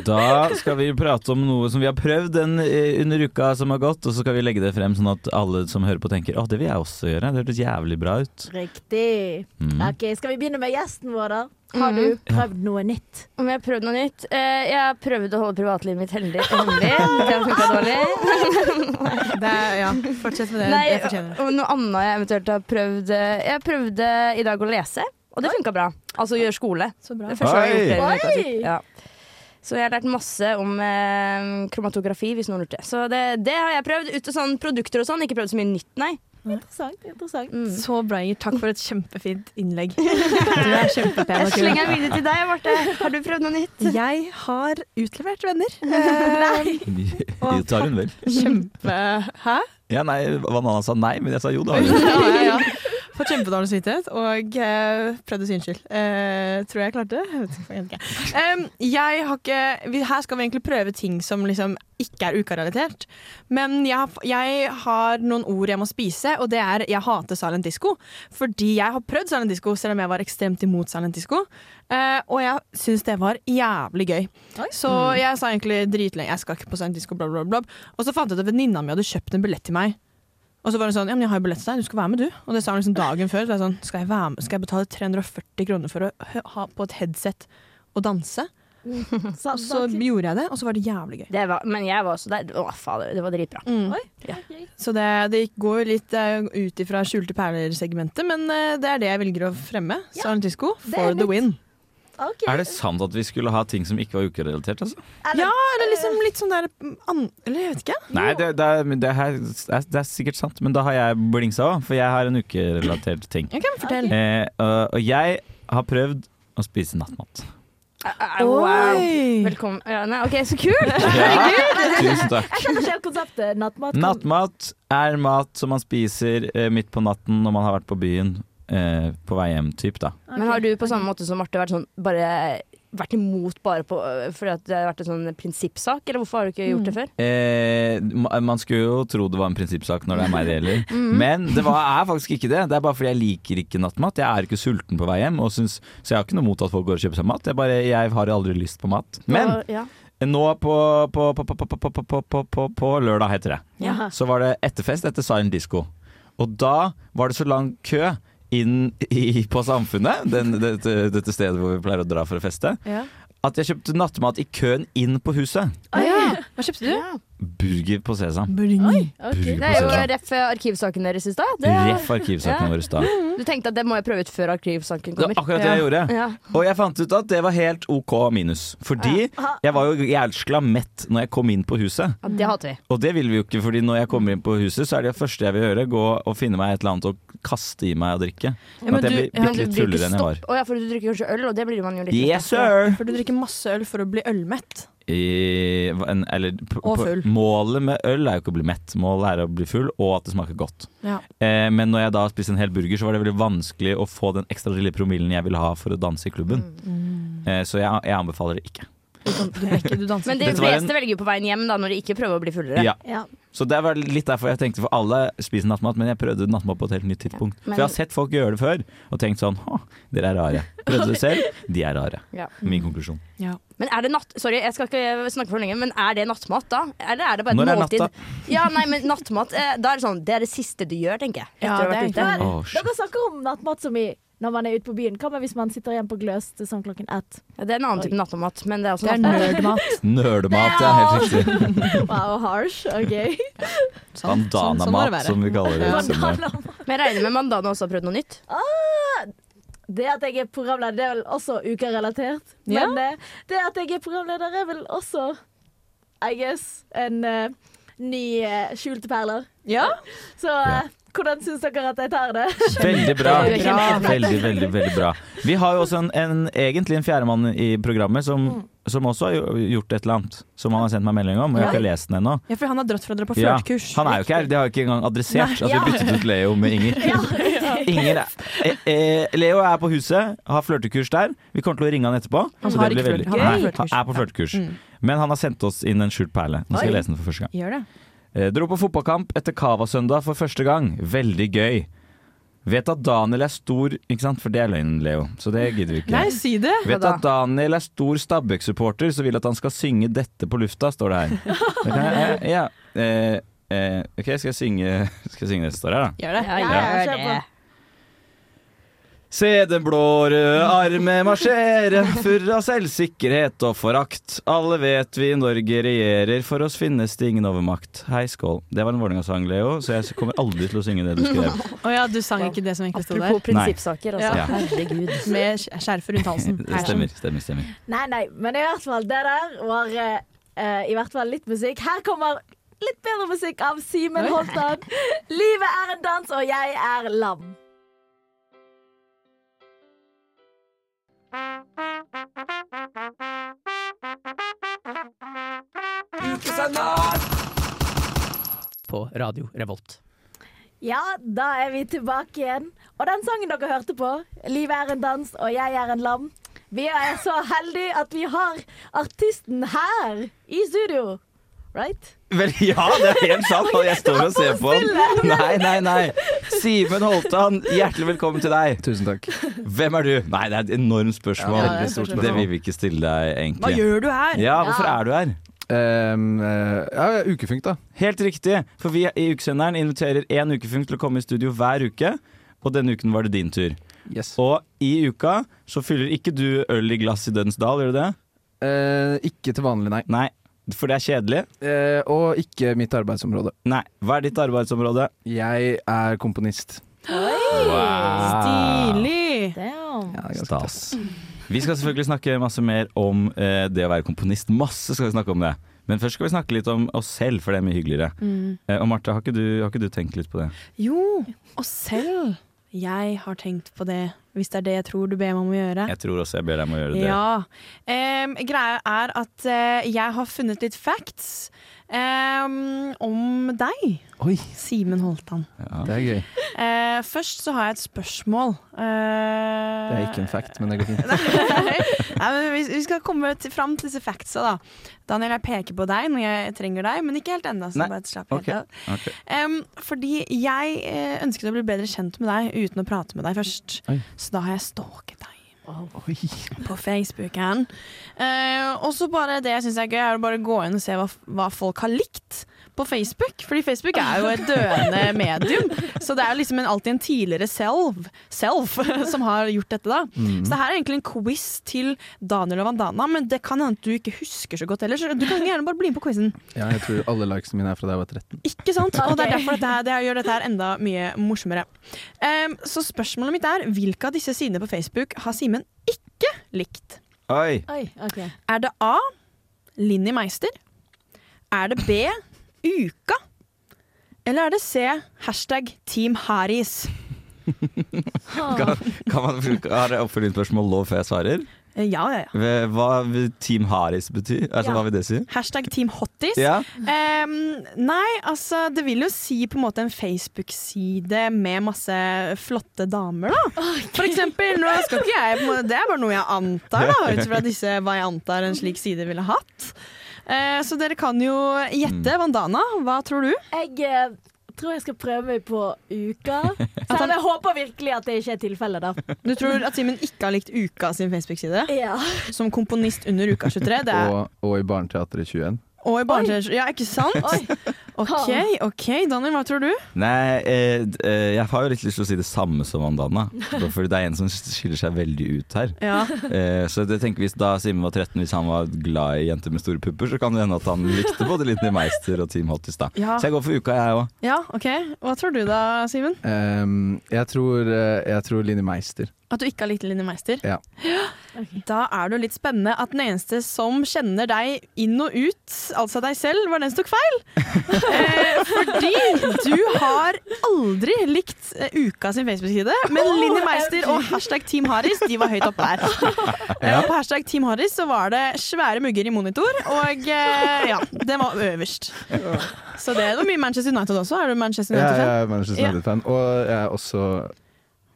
Speaker 7: Da skal vi prate om noe som vi har prøvd en, eh, under uka som har gått, og så skal vi legge det frem sånn at alle som hører på tenker å, det vil jeg også gjøre, det hørtes jævlig bra ut.
Speaker 4: Riktig.
Speaker 7: Mm.
Speaker 4: Ok, Skal vi begynne med gjesten vår, da? Har du prøvd noe nytt?
Speaker 3: Mm-hmm. Om jeg har prøvd noe nytt? Eh, jeg har prøvd å holde privatlivet mitt heldig hemmelig. Det har funka dårlig.
Speaker 6: Det er, ja, fortsett med det.
Speaker 3: Nei,
Speaker 6: jeg fortjener det.
Speaker 3: og noe annet jeg eventuelt har prøvd eh, Jeg prøvde i dag å lese, og det funka bra. Altså gjøre skole. Det er første gang jeg har gjort det. i
Speaker 4: Oi!
Speaker 3: uka, typ. Ja. Så jeg har lært masse om eh, kromatografi, hvis noen lurte. Så det, det har jeg prøvd. Ut og sånn produkter og sånn. Ikke prøvd så mye nytt, nei. Mm.
Speaker 4: Interessant. interessant.
Speaker 6: Mm. Så bra, Inger. Takk for et kjempefint innlegg. Du er kjempepen
Speaker 3: Jeg
Speaker 6: og kul.
Speaker 3: slenger den videre til deg, Marte. Har du prøvd noe nytt?
Speaker 6: Jeg har utlevert venner. Ehm,
Speaker 7: Det tar hun vel.
Speaker 6: Kjempe... Hæ?
Speaker 7: Ja, nei, Banana sa nei, men jeg sa jo, det har hun.
Speaker 6: Ja, ja, ja. Fått kjempedårlig samvittighet og eh, prøvd å si unnskyld. Eh, tror jeg jeg klarte det. Jeg vet ikke, jeg vet ikke. Em, jeg har ikke vi, Her skal vi egentlig prøve ting som liksom ikke er ukarelatert. Men jeg har, jeg har noen ord jeg må spise, og det er jeg hater silent disco. Fordi jeg har prøvd silent disco, selv om jeg var ekstremt imot silent disco. Eh, og jeg syns det var jævlig gøy. Så jeg sa egentlig dritlenge jeg skal ikke på silent disco, bla, bla, bla. Og så fant jeg ut at venninna mi hadde kjøpt en billett til meg. Og så var hun sånn, ja, men jeg har jo billett til deg, du skal være med du. Og det sa hun liksom dagen før. Så jeg sånn, skal jeg, være med? skal jeg betale 340 kroner for å hø- ha på et headset og danse? Og så gjorde jeg det, og så var det jævlig gøy.
Speaker 3: Det var, men jeg var også der. Å, fader, det var dritbra.
Speaker 6: Mm. Så det, det gikk- går jo litt eh, ut ifra skjulte perler-segmentet, men eh, det er det jeg velger å fremme. Ja. Silent Disco for the win.
Speaker 7: Er det sant at vi skulle ha ting som ikke var ukerelatert, altså?
Speaker 6: ja, eller liksom litt sånn der mm, an, Eller jeg vet ikke.
Speaker 7: Nei, det, det, er, men det, her, det er- det er sikkert sant, men da har jeg blingsa òg, for jeg har en ukerelatert ting.
Speaker 6: Ok, men fortell.
Speaker 7: Eh, og, og jeg har prøvd å spise nattmat.
Speaker 3: Au, Wow. Velkommen. Ja, nei, OK, så kult!
Speaker 7: Tusen takk.
Speaker 4: Jeg skjønner ikke helt konseptet nattmat.
Speaker 7: Nattmat er mat som man spiser eh, midt på natten når man har vært på byen eh, på vei hjem, typ da.
Speaker 3: Men har du på samme måte som Marte vært, sånn, bare, vært imot bare på, fordi at det har vært en sånn prinsippsak, eller hvorfor har du ikke gjort det før?
Speaker 7: Eh, ma- man skulle jo tro det var en prinsippsak når det er meg det gjelder,
Speaker 3: Mhm.
Speaker 7: men det var, er faktisk ikke det. Det er bare fordi jeg liker ikke nattmat. Jeg er ikke sulten på vei hjem, og syns, så jeg har ikke noe mot at folk går og kjøper seg mat. Jeg, bare, jeg har aldri lyst på mat. Men
Speaker 3: Og- ja.
Speaker 7: nå på, på, på, på, på, på, på, på, på, på lørdag, heter det,
Speaker 3: Ja.
Speaker 7: så var det etterfest etter Silent Disco. Og da var det så lang kø inn i, på Samfunnet, den, dette, dette stedet hvor vi pleier å dra for å feste,
Speaker 6: Ja.
Speaker 7: at jeg kjøpte nattmat i køen inn på huset.
Speaker 6: Hva kjøpte du?
Speaker 7: Burger på sesam.
Speaker 3: Det
Speaker 7: Burger på
Speaker 3: er jo
Speaker 7: sesam.
Speaker 3: ref arkivsaken deres i stad. Det er-
Speaker 7: Ref arkivsaken vår i stad.
Speaker 3: Du tenkte at det må jeg prøve ut før arkivsaken
Speaker 7: Det
Speaker 3: kommer.
Speaker 7: var akkurat det jeg gjorde.
Speaker 3: Ja.
Speaker 7: Og jeg fant ut at det var helt OK minus. Fordi jeg var jo jævla mett når jeg kom inn på huset.
Speaker 3: Ja, det hater vi.
Speaker 7: Og det vil vi jo ikke, fordi når jeg kommer inn på huset, så er det første jeg vil gjøre, gå og finne meg et eller annet å kaste i meg og drikke.
Speaker 3: Ja, men
Speaker 7: at
Speaker 3: du-
Speaker 7: jeg blir
Speaker 3: ja, men
Speaker 7: bitte
Speaker 3: du
Speaker 7: litt
Speaker 3: blir ikke
Speaker 7: fullere enn jeg var.
Speaker 3: stopp- Å ja, for du drikker kanskje øl, og det blir man jo litt
Speaker 7: Yes, sir!
Speaker 6: For du drikker masse øl for å bli ølmett.
Speaker 7: i hva- en, eller, p-
Speaker 9: Og
Speaker 7: på-
Speaker 9: full.
Speaker 7: Målet med øl er jo ikke å bli mett, målet er å bli full og at det smaker godt.
Speaker 9: Ja.
Speaker 7: Eh, men når jeg da spiste en hel burger, så var det veldig vanskelig å få den ekstra lille promillen jeg ville ha for å danse i klubben.
Speaker 3: Mm.
Speaker 7: Eh, så jeg, jeg anbefaler det ikke.
Speaker 3: Men de
Speaker 7: Dette var en-
Speaker 3: fleste velger jo på veien hjem da når de ikke prøver å bli fullere.
Speaker 7: Ja. Så det var litt derfor jeg tenkte For alle spiser nattmat, men jeg prøvde nattmat på et helt nytt tidspunkt.
Speaker 3: Men-
Speaker 7: For jeg har sett folk gjøre det før og tenkt sånn Å, dere er rare. Prøvde det selv, de er rare.
Speaker 3: Ja.
Speaker 7: Min konklusjon.
Speaker 3: Men er det natt... Sorry, jeg skal ikke snakke for lenge, men er det nattmat da? Eller er det bare et
Speaker 7: Når er
Speaker 3: måltid?
Speaker 7: natta?
Speaker 3: Ja, nei, men nattmat, eh, da er det sånn Det er det siste du gjør, tenker jeg. Etter å
Speaker 4: Ja,
Speaker 3: ha
Speaker 4: det er
Speaker 3: vært ute.
Speaker 4: egentlig- Men Dere snakker om nattmat som i når man er ute på byen. Hva med hvis man sitter igjen på Gløs til sånn klokken ett?
Speaker 3: det er en annen type nattmat, men det er også
Speaker 4: Det er
Speaker 3: nattmat.
Speaker 7: Nerdemat, ja, helt riktig.
Speaker 4: wow, harsh. OK.
Speaker 3: Sånn-
Speaker 4: Sånn-
Speaker 7: Bandanamat, som vi kaller det. i Sunnmøre.
Speaker 3: Men jeg regner med Mandana også har prøvd noe nytt.
Speaker 4: Ah, det at jeg er programleder, det er vel også ukerelatert.
Speaker 3: Ja.
Speaker 4: Men eh, det at jeg er programleder, er vel også, I guess, en eh, ny eh, skjulte perler. Så eh, hvordan syns dere at jeg tar det?
Speaker 7: Veldig bra.
Speaker 4: Kjempebra.
Speaker 7: Veldig, veldig, veldig bra. Vi har jo også en, en, egentlig en fjerdemann i programmet som,
Speaker 6: Mm.
Speaker 7: som også har jo- gjort et eller annet. Som han har sendt meg melding om, og jeg har ikke
Speaker 6: Ja.
Speaker 7: lest den ennå.
Speaker 6: Ja, for han har dratt fra dere på
Speaker 7: Ja,
Speaker 6: flørtkurs.
Speaker 7: han er jo ikke her, det har jeg ikke engang adressert.
Speaker 6: Nei.
Speaker 7: At vi byttet ut Leo med Inger. Inger er, eh, eh, Leo er på huset, har flørtekurs der. Vi kommer til å ringe han etterpå.
Speaker 6: Han
Speaker 7: så
Speaker 6: har
Speaker 7: det
Speaker 6: ikke
Speaker 7: blir
Speaker 6: flørtekurs.
Speaker 7: veldig-
Speaker 6: Han er
Speaker 7: Nei,
Speaker 6: flørtekurs.
Speaker 7: han er på flørtekurs.
Speaker 6: Mm.
Speaker 7: Men han har sendt oss inn en skjult perle. Nå skal jeg
Speaker 6: Oi.
Speaker 7: lese den for første gang.
Speaker 6: Gjør det.
Speaker 7: Eh, Dro på fotballkamp etter Cava-søndag for første gang. Veldig gøy. Vet at Daniel er stor Ikke sant, for det er løgnen, Leo. Så det gidder vi ikke.
Speaker 6: Nei, si det.
Speaker 7: Vet at Daniel er stor Stabæk-supporter, så vil at han skal synge dette på lufta, står det her. Det kan jeg, eh, ja. eh, eh, OK, skal jeg synge Skal jeg synge det som står her, da?
Speaker 6: Gjør det.
Speaker 7: Ja, ja, kjør på. Se den blå-røde arme marsjere, full av selvsikkerhet og forakt. Alle vet vi i Norge regjerer, for oss finnes det ingen overmakt. Hei, skål. Det var en Vålerenga-sang, Leo, så jeg kommer aldri til å synge det du skrev.
Speaker 6: Å ja, du sang ikke det som egentlig sto der.
Speaker 7: Apropos prinsippsaker, altså. Ja.
Speaker 6: Herregud. Med skj- skjerfet rundt halsen.
Speaker 7: Det stemmer, stemmer, stemmer.
Speaker 4: Nei, nei, men i hvert fall, det der var eh, eh, i hvert fall litt musikk. Her kommer litt bedre musikk av Simen
Speaker 33: Oi.
Speaker 4: Holtan. Livet er en dans, og jeg er lam.
Speaker 1: På Radio Revolt.
Speaker 4: Ja, da er vi tilbake igjen. Og den sangen dere hørte på, 'Livet er en dans, og jeg er en lam', vi er så heldige at vi har artisten her i studio. Right?
Speaker 7: Vel, ja, det er helt sant, og jeg står og ser på han. Nei, nei, nei. Simen Holtan, hjertelig velkommen til deg. Tusen takk. Hvem er du? Nei, det er et enormt spørsmål.
Speaker 9: Ja, det er et stort spørsmål.
Speaker 7: Det vil vi ikke stille deg, egentlig.
Speaker 9: Hva gjør du her?
Speaker 7: Ja, hvorfor
Speaker 9: Ja.
Speaker 7: er du her? ja, ukefunk, da. Helt riktig, for vi i Ukesenderen inviterer én ukefunk til å komme i studio hver uke, og denne uken var det din tur. Og i uka så fyller ikke du øl i glass i Dønsdal, gjør du det? Eh, ikke til vanlig, nei. Nei, For det er kjedelig?
Speaker 16: Eh,
Speaker 7: og ikke mitt arbeidsområde. Nei. Hva er ditt arbeidsområde? Jeg er komponist. Wow.
Speaker 6: Stilig!
Speaker 7: Stas. Vi skal selvfølgelig snakke masse mer om eh, det å være komponist. Masse skal vi snakke om det. Men først skal vi snakke litt om oss selv, for det er mye hyggeligere.
Speaker 6: Mm.
Speaker 7: Eh, og Marte, har ikke, du, har ikke du tenkt litt på det?
Speaker 6: Jo, og selv jeg har tenkt på det, hvis det er det jeg tror du ber meg om å gjøre.
Speaker 7: Jeg tror også jeg ber deg om å gjøre det.
Speaker 6: Ja. Em, greia er at eh, jeg har funnet litt facts em, om deg, Simen Holtan.
Speaker 16: Det er gøy.
Speaker 6: Eh, først så har jeg et spørsmål. Eh,
Speaker 16: Det er ikke en fact, men det går fint.
Speaker 6: Nei, men vi, vi skal komme til, fram til disse factsa, da. Daniel, jeg peker på deg når jeg trenger deg, men ikke helt ennå. Så
Speaker 7: Nei.
Speaker 6: bare slapp
Speaker 7: Ok.
Speaker 6: helt av.
Speaker 7: Ok.
Speaker 6: Em, fordi jeg eh, ønsket å bli bedre kjent med deg uten å prate med deg først.
Speaker 16: Oi.
Speaker 6: Så da har jeg stalket deg. På Facebooken. Eh, og så bare det jeg syns er gøy, er å bare gå inn og se hva, hva folk har likt på Facebook. Fordi Facebook er jo et døende medium, så det er jo liksom en, alltid en tidligere selv, self som har gjort dette, da.
Speaker 16: Mhm.
Speaker 6: Så det her er egentlig en quiz til Daniel og Vandana, men det kan hende at du ikke husker så godt heller, så du kan gjerne bare bli med på quizen.
Speaker 16: Ja, jeg tror alle likesene mine er fra da jeg var 13.
Speaker 6: Ikke sant? Og det er derfor dette her, det her gjør dette her enda mye morsommere. Em, så spørsmålet mitt er hvilke av disse sidene på Facebook har Simen ikke likt?
Speaker 7: Oi.
Speaker 6: Er det A. Linni Meister? Er det B. Uka? Eller er det C. Hashtag Team Haris? Ah.
Speaker 7: Kan, kan man bruke, Har jeg oppfølgingsspørsmål nå før jeg svarer?
Speaker 6: Eh, Ja, ja, ja.
Speaker 7: Ved Hva vil Team Haris bety? Altså,
Speaker 6: Ja.
Speaker 7: Hva vil det si?
Speaker 6: Hashtag Team Hottis.
Speaker 7: Ja.
Speaker 6: Ehm, nei, altså det vil jo si på en måte en Facebook-side med masse flotte damer, da. For eksempel. Nå skal ikke jeg, på en måte- det er bare noe jeg antar, da, ut fra disse hva jeg antar en slik side ville hatt. Eh, så dere kan jo gjette. Vandana, hva tror du?
Speaker 4: Jeg eh, tror jeg skal prøve meg på Uka. Selv om jeg håper virkelig at det ikke er tilfellet, da.
Speaker 6: Du tror at Simen ikke har likt Uka sin Facebook-side?
Speaker 4: Ja.
Speaker 6: Som komponist under Uka 23. Det er,
Speaker 16: Og, og i Barneteatret 21.
Speaker 6: og i barneteater. Ja, ikke sant? OK, OK. Daniel, hva tror du?
Speaker 7: Nei, eh, d- eh, jeg har jo litt lyst til å si det samme som Vandana. For det er en som skiller seg veldig ut her.
Speaker 6: Ja.
Speaker 7: Eh, så jeg tenker hvis da Simen var 13, hvis han var glad i jenter med store pupper, så kan det hende at han likte både Linni Meister og Team Hottis, da.
Speaker 6: Ja.
Speaker 7: Så jeg går for uka, jeg òg.
Speaker 6: Ja, OK. Hva tror du da, Simen?
Speaker 16: Ehm, jeg tror, eh, jeg tror Linni Meister.
Speaker 6: At du ikke har likt Linni Meister?
Speaker 16: Ja.
Speaker 6: Da er det jo litt spennende at den eneste som kjenner deg inn og ut, altså deg selv, var den som tok feil. eh, fordi du har aldri likt eh, Uka sin Facebook-side, men
Speaker 4: Oh,
Speaker 6: Linni Meister og
Speaker 4: herregud.
Speaker 6: hashtag Team Haris de var høyt oppe der. Eh, Og på hashtag Team Haris så var det svære mugger i monitor, og eh, ja, den var øverst. Så det var mye Manchester United også. Er du Manchester
Speaker 16: Jeg,
Speaker 6: United-fan?
Speaker 16: jeg er Manchester
Speaker 6: Ja.
Speaker 16: United-fan, og jeg er også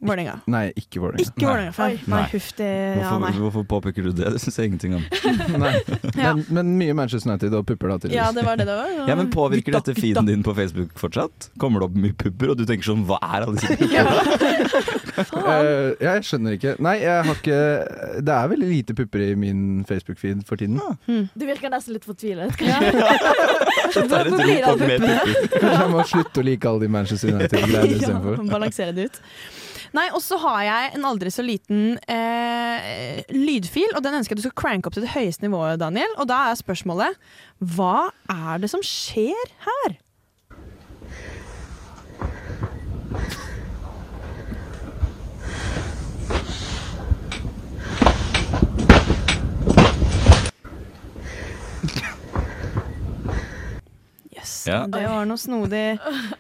Speaker 6: Vålerenga.
Speaker 16: Nei, ikke Vålerenga.
Speaker 6: Ikke Vålerenga-fan. Nei, huff det. Ja,
Speaker 7: Hvorfor,
Speaker 6: nei.
Speaker 7: hvorfor påpeker du det? Det syns jeg ingenting om.
Speaker 16: Nei.
Speaker 6: Ja.
Speaker 16: Men, men mye Manchester United og pupper, da, tydeligvis.
Speaker 6: Ja, det var det det var.
Speaker 7: Ja, men Påvirker dette feeden din på Facebook fortsatt? Kommer det opp mye pupper, og du tenker sånn Hva er alle disse puppene?
Speaker 16: Eh, ja, jeg skjønner ikke. Nei, jeg har ikke Det er veldig lite pupper i min Facebook-feed for tiden.
Speaker 6: Hmm.
Speaker 4: Du virker nesten litt fortvilet.
Speaker 16: Dette
Speaker 4: er et Hvorfor blir rop om det mer puppene?
Speaker 16: Kanskje jeg må slutte å like alle de Manchester United-greiene istedenfor.
Speaker 6: Balansere det ut. Nei, og så har jeg en aldri så liten eh, lydfil, og den ønsker jeg at du skal cranke opp til det høyeste nivået, Daniel. Og da er spørsmålet hva er det som skjer her? Yes,
Speaker 7: Ja.
Speaker 6: Det var noe snodig,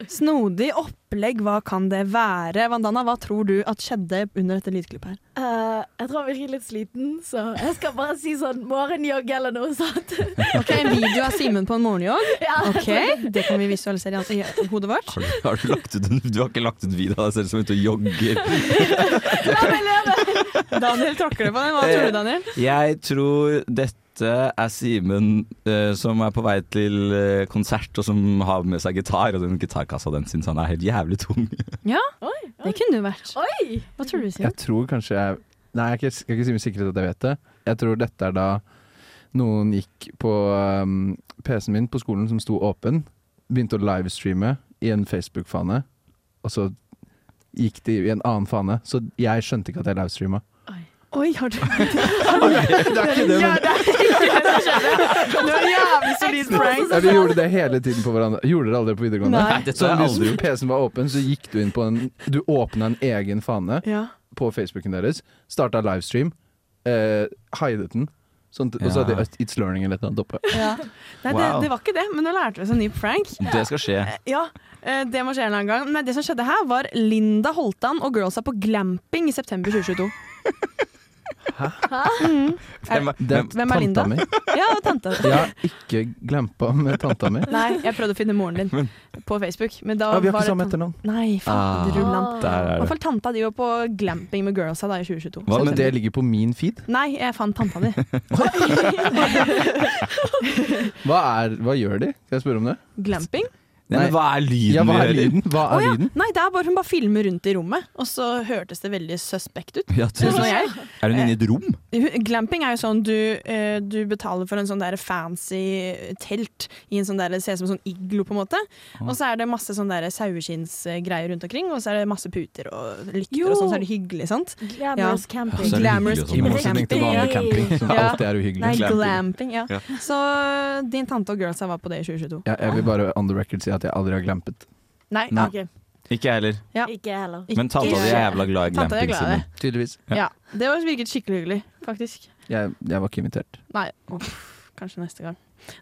Speaker 6: snodig opplegg. Hva kan det være? Vandana, hva tror du at skjedde under dette lydklippet her?
Speaker 4: Eh, jeg tror han virker litt sliten, så jeg skal bare si sånn morgenjogg eller noe sånt.
Speaker 6: Ok, En video av Simen på en morgenjogg.
Speaker 4: Ja.
Speaker 6: Ok, Det kan vi visualisere i i hodet vårt.
Speaker 7: Har du, har du, lagt ut en, du har ikke lagt ut video av deg selv som er ute og jogger?
Speaker 6: Daniel tråkker det på den. Hva tror du, Daniel?
Speaker 7: Jeg tror dette er Simen eh, som er på vei til eh, konsert, og som har med seg gitar. Og den gitarkassa den syns han er helt jævlig tung.
Speaker 6: Ja, det kunne du vært. Hva tror du, Simen?
Speaker 16: Jeg tror kanskje jeg Nei, jeg kan ikke- skal ikke si med sikkerhet at jeg vet det. Jeg tror dette er da noen gikk på um, PC-en min på skolen som sto åpen, begynte å livestreame i en Facebook-fane, og så gikk de i en annen fane. Så jeg skjønte ikke at jeg livestreama.
Speaker 6: Oi, har du
Speaker 16: det er ikke det, men-
Speaker 6: Ja, det er ikke det som skjedde. Det var en jævlig solid prank.
Speaker 16: Ja, vi gjorde det hele tiden på hverandre. Gjorde dere aldri på videregående?
Speaker 6: altså, Nei. Nei, dette
Speaker 16: så
Speaker 6: har jeg
Speaker 16: hvis
Speaker 6: aldri gjort.
Speaker 16: PC-en var åpen, så gikk du inn på en Du åpna en egen fane
Speaker 6: Ja.
Speaker 16: på Facebooken deres, starta livestream, eh, hidet den, sånn, at- og så hadde
Speaker 7: Ja.
Speaker 16: de It's Learning eller et eller annet oppe.
Speaker 6: Ja. Nei, det,
Speaker 16: Wow.
Speaker 6: det var ikke det, men nå lærte vi oss en ny prank.
Speaker 7: Det skal skje.
Speaker 6: Ja, eh, det må skje en eller annen gang. Men det som skjedde her, var Linda Holtan og girlsa på glamping i september 2022. Hæ? Mm.
Speaker 16: Hvem er- Det er
Speaker 6: hvem er Linda?
Speaker 16: tanta mi.
Speaker 6: Ja, og tante.
Speaker 16: Jeg har ikke glempa med tanta mi.
Speaker 6: Nei, jeg prøvde å finne moren din på Facebook. Men da
Speaker 16: Ah, vi har
Speaker 6: var
Speaker 16: ikke
Speaker 6: det
Speaker 16: samme etternavn.
Speaker 6: tan- Nei, faen,
Speaker 16: Ah,
Speaker 6: det rullan.
Speaker 16: der er det.
Speaker 6: I hvert fall tanta di var på glamping med girlsa da i 2022.
Speaker 16: Hva, men det ligger på min feed?
Speaker 6: Nei, jeg fant tanta di.
Speaker 16: Hva, er, hva gjør de? Skal jeg spørre om det?
Speaker 6: Glamping?
Speaker 7: Nei, men hva er lyden
Speaker 16: Ja, hva er
Speaker 7: vi hører?
Speaker 16: lyden? Hva er
Speaker 6: Å ja.
Speaker 16: lyden?
Speaker 6: Nei, det er bare hun bare filmer rundt i rommet, og så hørtes det veldig suspekt ut.
Speaker 7: Ja,
Speaker 6: synes
Speaker 4: Sånn
Speaker 6: nå jeg.
Speaker 7: Er hun inne i et rom?
Speaker 6: Hun- Glamping er jo sånn du, eh, du betaler for en sånn der fancy telt i en sånn der, det ser ut som en sånn iglo, på en måte. Og så er det masse sånn der saueskinnsgreier rundt omkring, og så er det masse puter og lykter, og sånn, så er det hyggelig, sant?
Speaker 4: Glamorous camping.
Speaker 16: Ja, så er det hyggelig
Speaker 6: Glamorous
Speaker 16: og sånn. I motsetning til vanlig camping, som
Speaker 6: Ja.
Speaker 16: alltid er uhyggelig.
Speaker 6: Nei,
Speaker 16: Glamping.
Speaker 6: glamping, ja.
Speaker 16: Ja.
Speaker 6: Så din tante og girlsa var på det i 2022.
Speaker 16: Ja, jeg vil bare on the record si at jeg aldri har glampet.
Speaker 6: Nei,
Speaker 16: Nei.
Speaker 6: ok.
Speaker 7: Ikke jeg heller.
Speaker 6: Ja.
Speaker 4: Ikke heller.
Speaker 7: Men tanta di er jævla glad i
Speaker 6: Tante er
Speaker 7: glamping.
Speaker 6: glad i det.
Speaker 7: Simen.
Speaker 16: Tydeligvis.
Speaker 6: Ja, det var- virket skikkelig hyggelig, faktisk.
Speaker 16: Jeg, jeg var ikke invitert.
Speaker 6: Nei, uff, kanskje neste gang.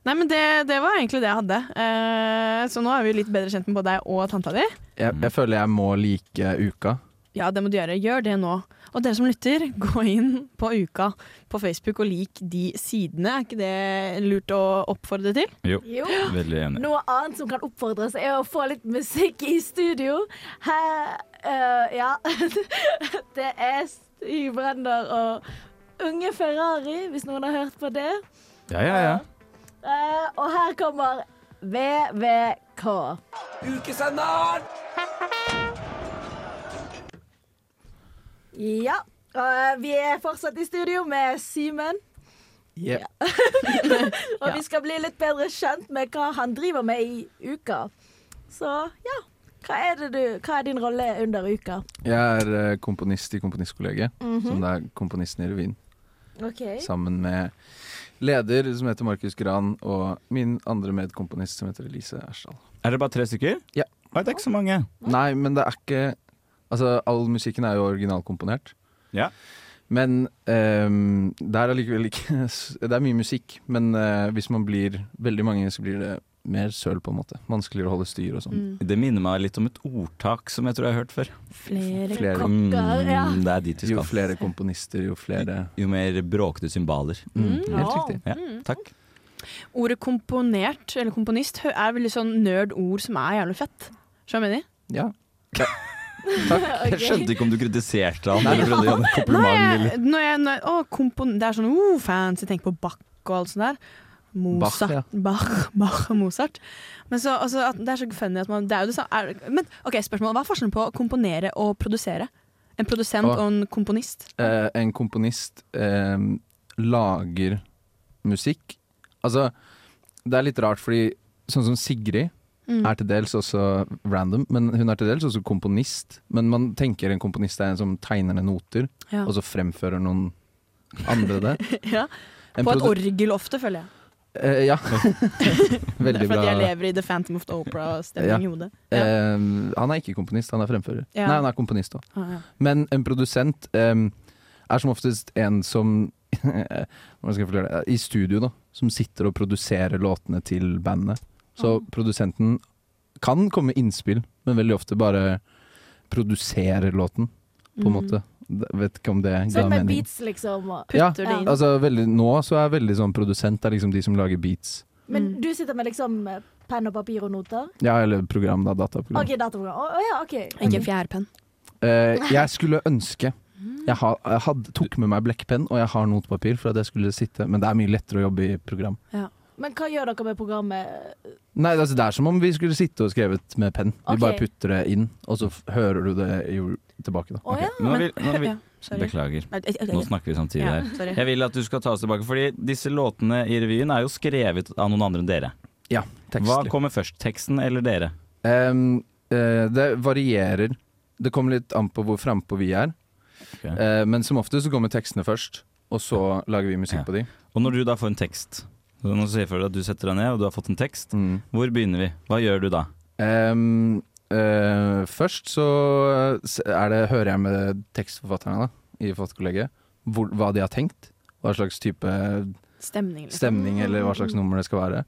Speaker 6: Nei, men det, det var egentlig det jeg hadde.
Speaker 7: Mhm.
Speaker 6: Eh, så nå er vi litt bedre kjent med både deg og tanta di.
Speaker 16: Jeg, jeg føler jeg må like uka.
Speaker 2: Ja, det må du gjøre. Gjør det nå. Og dere som lytter, gå inn på Uka på Facebook og lik de sidene. Er ikke det lurt å oppfordre til?
Speaker 7: Jo,
Speaker 4: Jo.
Speaker 7: veldig enig.
Speaker 4: Noe annet som kan oppfordres, er å få litt musikk i studio. Her, eh, ja. Det er Stig Brenner og Unge Ferrari, hvis noen har hørt på det.
Speaker 7: Ja, ja, ja.
Speaker 4: Eh, og her kommer VVK.
Speaker 6: Ukesenderen!
Speaker 4: Ja. og vi er fortsatt i studio med Simen.
Speaker 5: Yep.
Speaker 4: Og vi skal bli litt bedre kjent med hva han driver med i uka. Så ja, hva er, det du, hva er din rolle under uka?
Speaker 16: Jeg er eh, komponist i Komponistkollegiet,
Speaker 4: Mhm.
Speaker 16: som det er komponisten i revyen.
Speaker 4: OK.
Speaker 16: Sammen med leder, som heter Markus Gran, og min andre medkomponist, som heter Elise Ersdal.
Speaker 7: Er det bare tre stykker?
Speaker 16: Ja.
Speaker 7: det er ikke så mange.
Speaker 16: Nei, men det er ikke Altså, all musikken er jo originalkomponert.
Speaker 7: Ja.
Speaker 16: Men ehm, det er allikevel ikke s- Det er mye musikk, men eh, hvis man blir veldig mange, så blir det mer søl, på en måte. Vanskeligere å holde styr og sånn.
Speaker 7: Mm. Det minner meg litt om et ordtak som jeg tror jeg har hørt før.
Speaker 4: Flere Flere- kokker, ja.
Speaker 7: Mm, det er dit vi skal.
Speaker 16: Jo flere komponister, jo flere
Speaker 7: Jo mer bråkete cymbaler.
Speaker 2: Mm, Mm, helt ja. riktig.
Speaker 7: Ja,
Speaker 2: Mm.
Speaker 7: takk.
Speaker 2: Ordet komponert, eller komponist, hø- er veldig sånn nerd-ord som er jævlig fett. Skjønner du hva jeg mener?
Speaker 16: Ja.
Speaker 7: Takk. Jeg skjønte ikke om du kritiserte han eller prøvde å gjøre en kompliment.
Speaker 2: Når jeg,
Speaker 7: Lilly.
Speaker 2: når jeg, når, å, kompon, det er sånn oh, fancy, tenk på Bach og alt sånt der. Mozart.
Speaker 7: Bach, ja.
Speaker 2: Bach, Bach og Mozart. Men så, altså, at det er så funny at man det er jo det samme. Er, men ok, spørsmål, Hva er forskjellen på å komponere og produsere? En produsent
Speaker 16: Åh.
Speaker 2: og en komponist?
Speaker 16: Eh, en komponist eh, lager musikk. Altså, det er litt rart, fordi sånn som Sigrid
Speaker 2: Mm.
Speaker 16: er til dels også random, men hun er til dels også komponist. Men man tenker en komponist er en som tegner ned noter,
Speaker 2: Ja.
Speaker 16: og så fremfører noen andre det.
Speaker 2: ja.
Speaker 16: En
Speaker 2: På et
Speaker 16: produ-
Speaker 2: orgel ofte, føler jeg.
Speaker 16: Eh, ja.
Speaker 2: Det er
Speaker 16: Veldig
Speaker 2: fordi
Speaker 16: bra.
Speaker 2: jeg lever i The Phantom of the Opera-stemning
Speaker 16: Ja.
Speaker 2: i hodet.
Speaker 16: Eh, han er ikke komponist, han er fremfører.
Speaker 2: Ja.
Speaker 16: Nei, han er komponist òg.
Speaker 2: Ah, ja.
Speaker 16: Men en produsent eh, er som oftest en som Hvordan skal jeg forklare det? I studio, da. Som sitter og produserer låtene til bandet. Så produsenten kan komme med innspill, men veldig ofte bare produserer låten, på en
Speaker 4: Mhm.
Speaker 16: måte. Det- Vet ikke om det ga
Speaker 4: Sånn med
Speaker 16: mening.
Speaker 4: beats, liksom. Og,
Speaker 16: Ja, altså veldig, nå så er veldig sånn produsent er liksom de som lager beats.
Speaker 4: Men
Speaker 2: Mm.
Speaker 4: du sitter med liksom eh, penn og papir og noter?
Speaker 16: Ja, eller program, da. Dataprogram.
Speaker 4: OK, dataprogram. Å å ja, OK.
Speaker 2: Ikke en fjærpenn.
Speaker 16: Eh, jeg skulle ønske jeg, ha, jeg hadde, tok med meg blekkpenn og jeg har notepapir, for at jeg skulle sitte men det er mye lettere å jobbe i program.
Speaker 4: Men hva gjør dere med programmet?
Speaker 16: Nei, altså, Det er som om vi skulle sitte og skrevet med penn. Vi
Speaker 4: Ok.
Speaker 16: bare putter det inn, og så f hører du det jo tilbake. Da.
Speaker 4: Å, ja.
Speaker 7: Nå vil, nå vil,
Speaker 4: Ja, sorry.
Speaker 7: beklager.
Speaker 4: Nei, ok, ok.
Speaker 7: Nå snakker vi samtidig
Speaker 4: Ja,
Speaker 7: her.
Speaker 4: sorry.
Speaker 7: Jeg vil at du skal ta oss tilbake, fordi disse låtene i revyen er jo skrevet av noen andre enn dere.
Speaker 16: Ja,
Speaker 7: Hva kommer først, teksten eller dere?
Speaker 16: Ehm, eh, det varierer. Det kommer litt an på hvor frampå vi er. Eh, men som ofte så kommer tekstene først, og så lager vi musikk på de.
Speaker 7: Og når du da får en tekst så Nå ser jeg for deg at du setter deg ned, og du har fått en tekst. Hvor begynner vi? Hva gjør du da?
Speaker 16: Ehm, eh, først så s- er det, hører jeg med tekstforfatterne da, i Forfatterkollegiet hvor, hva de har tenkt. Hva slags type
Speaker 2: Stemning, liksom.
Speaker 16: stemning eller hva slags nummer det skal være.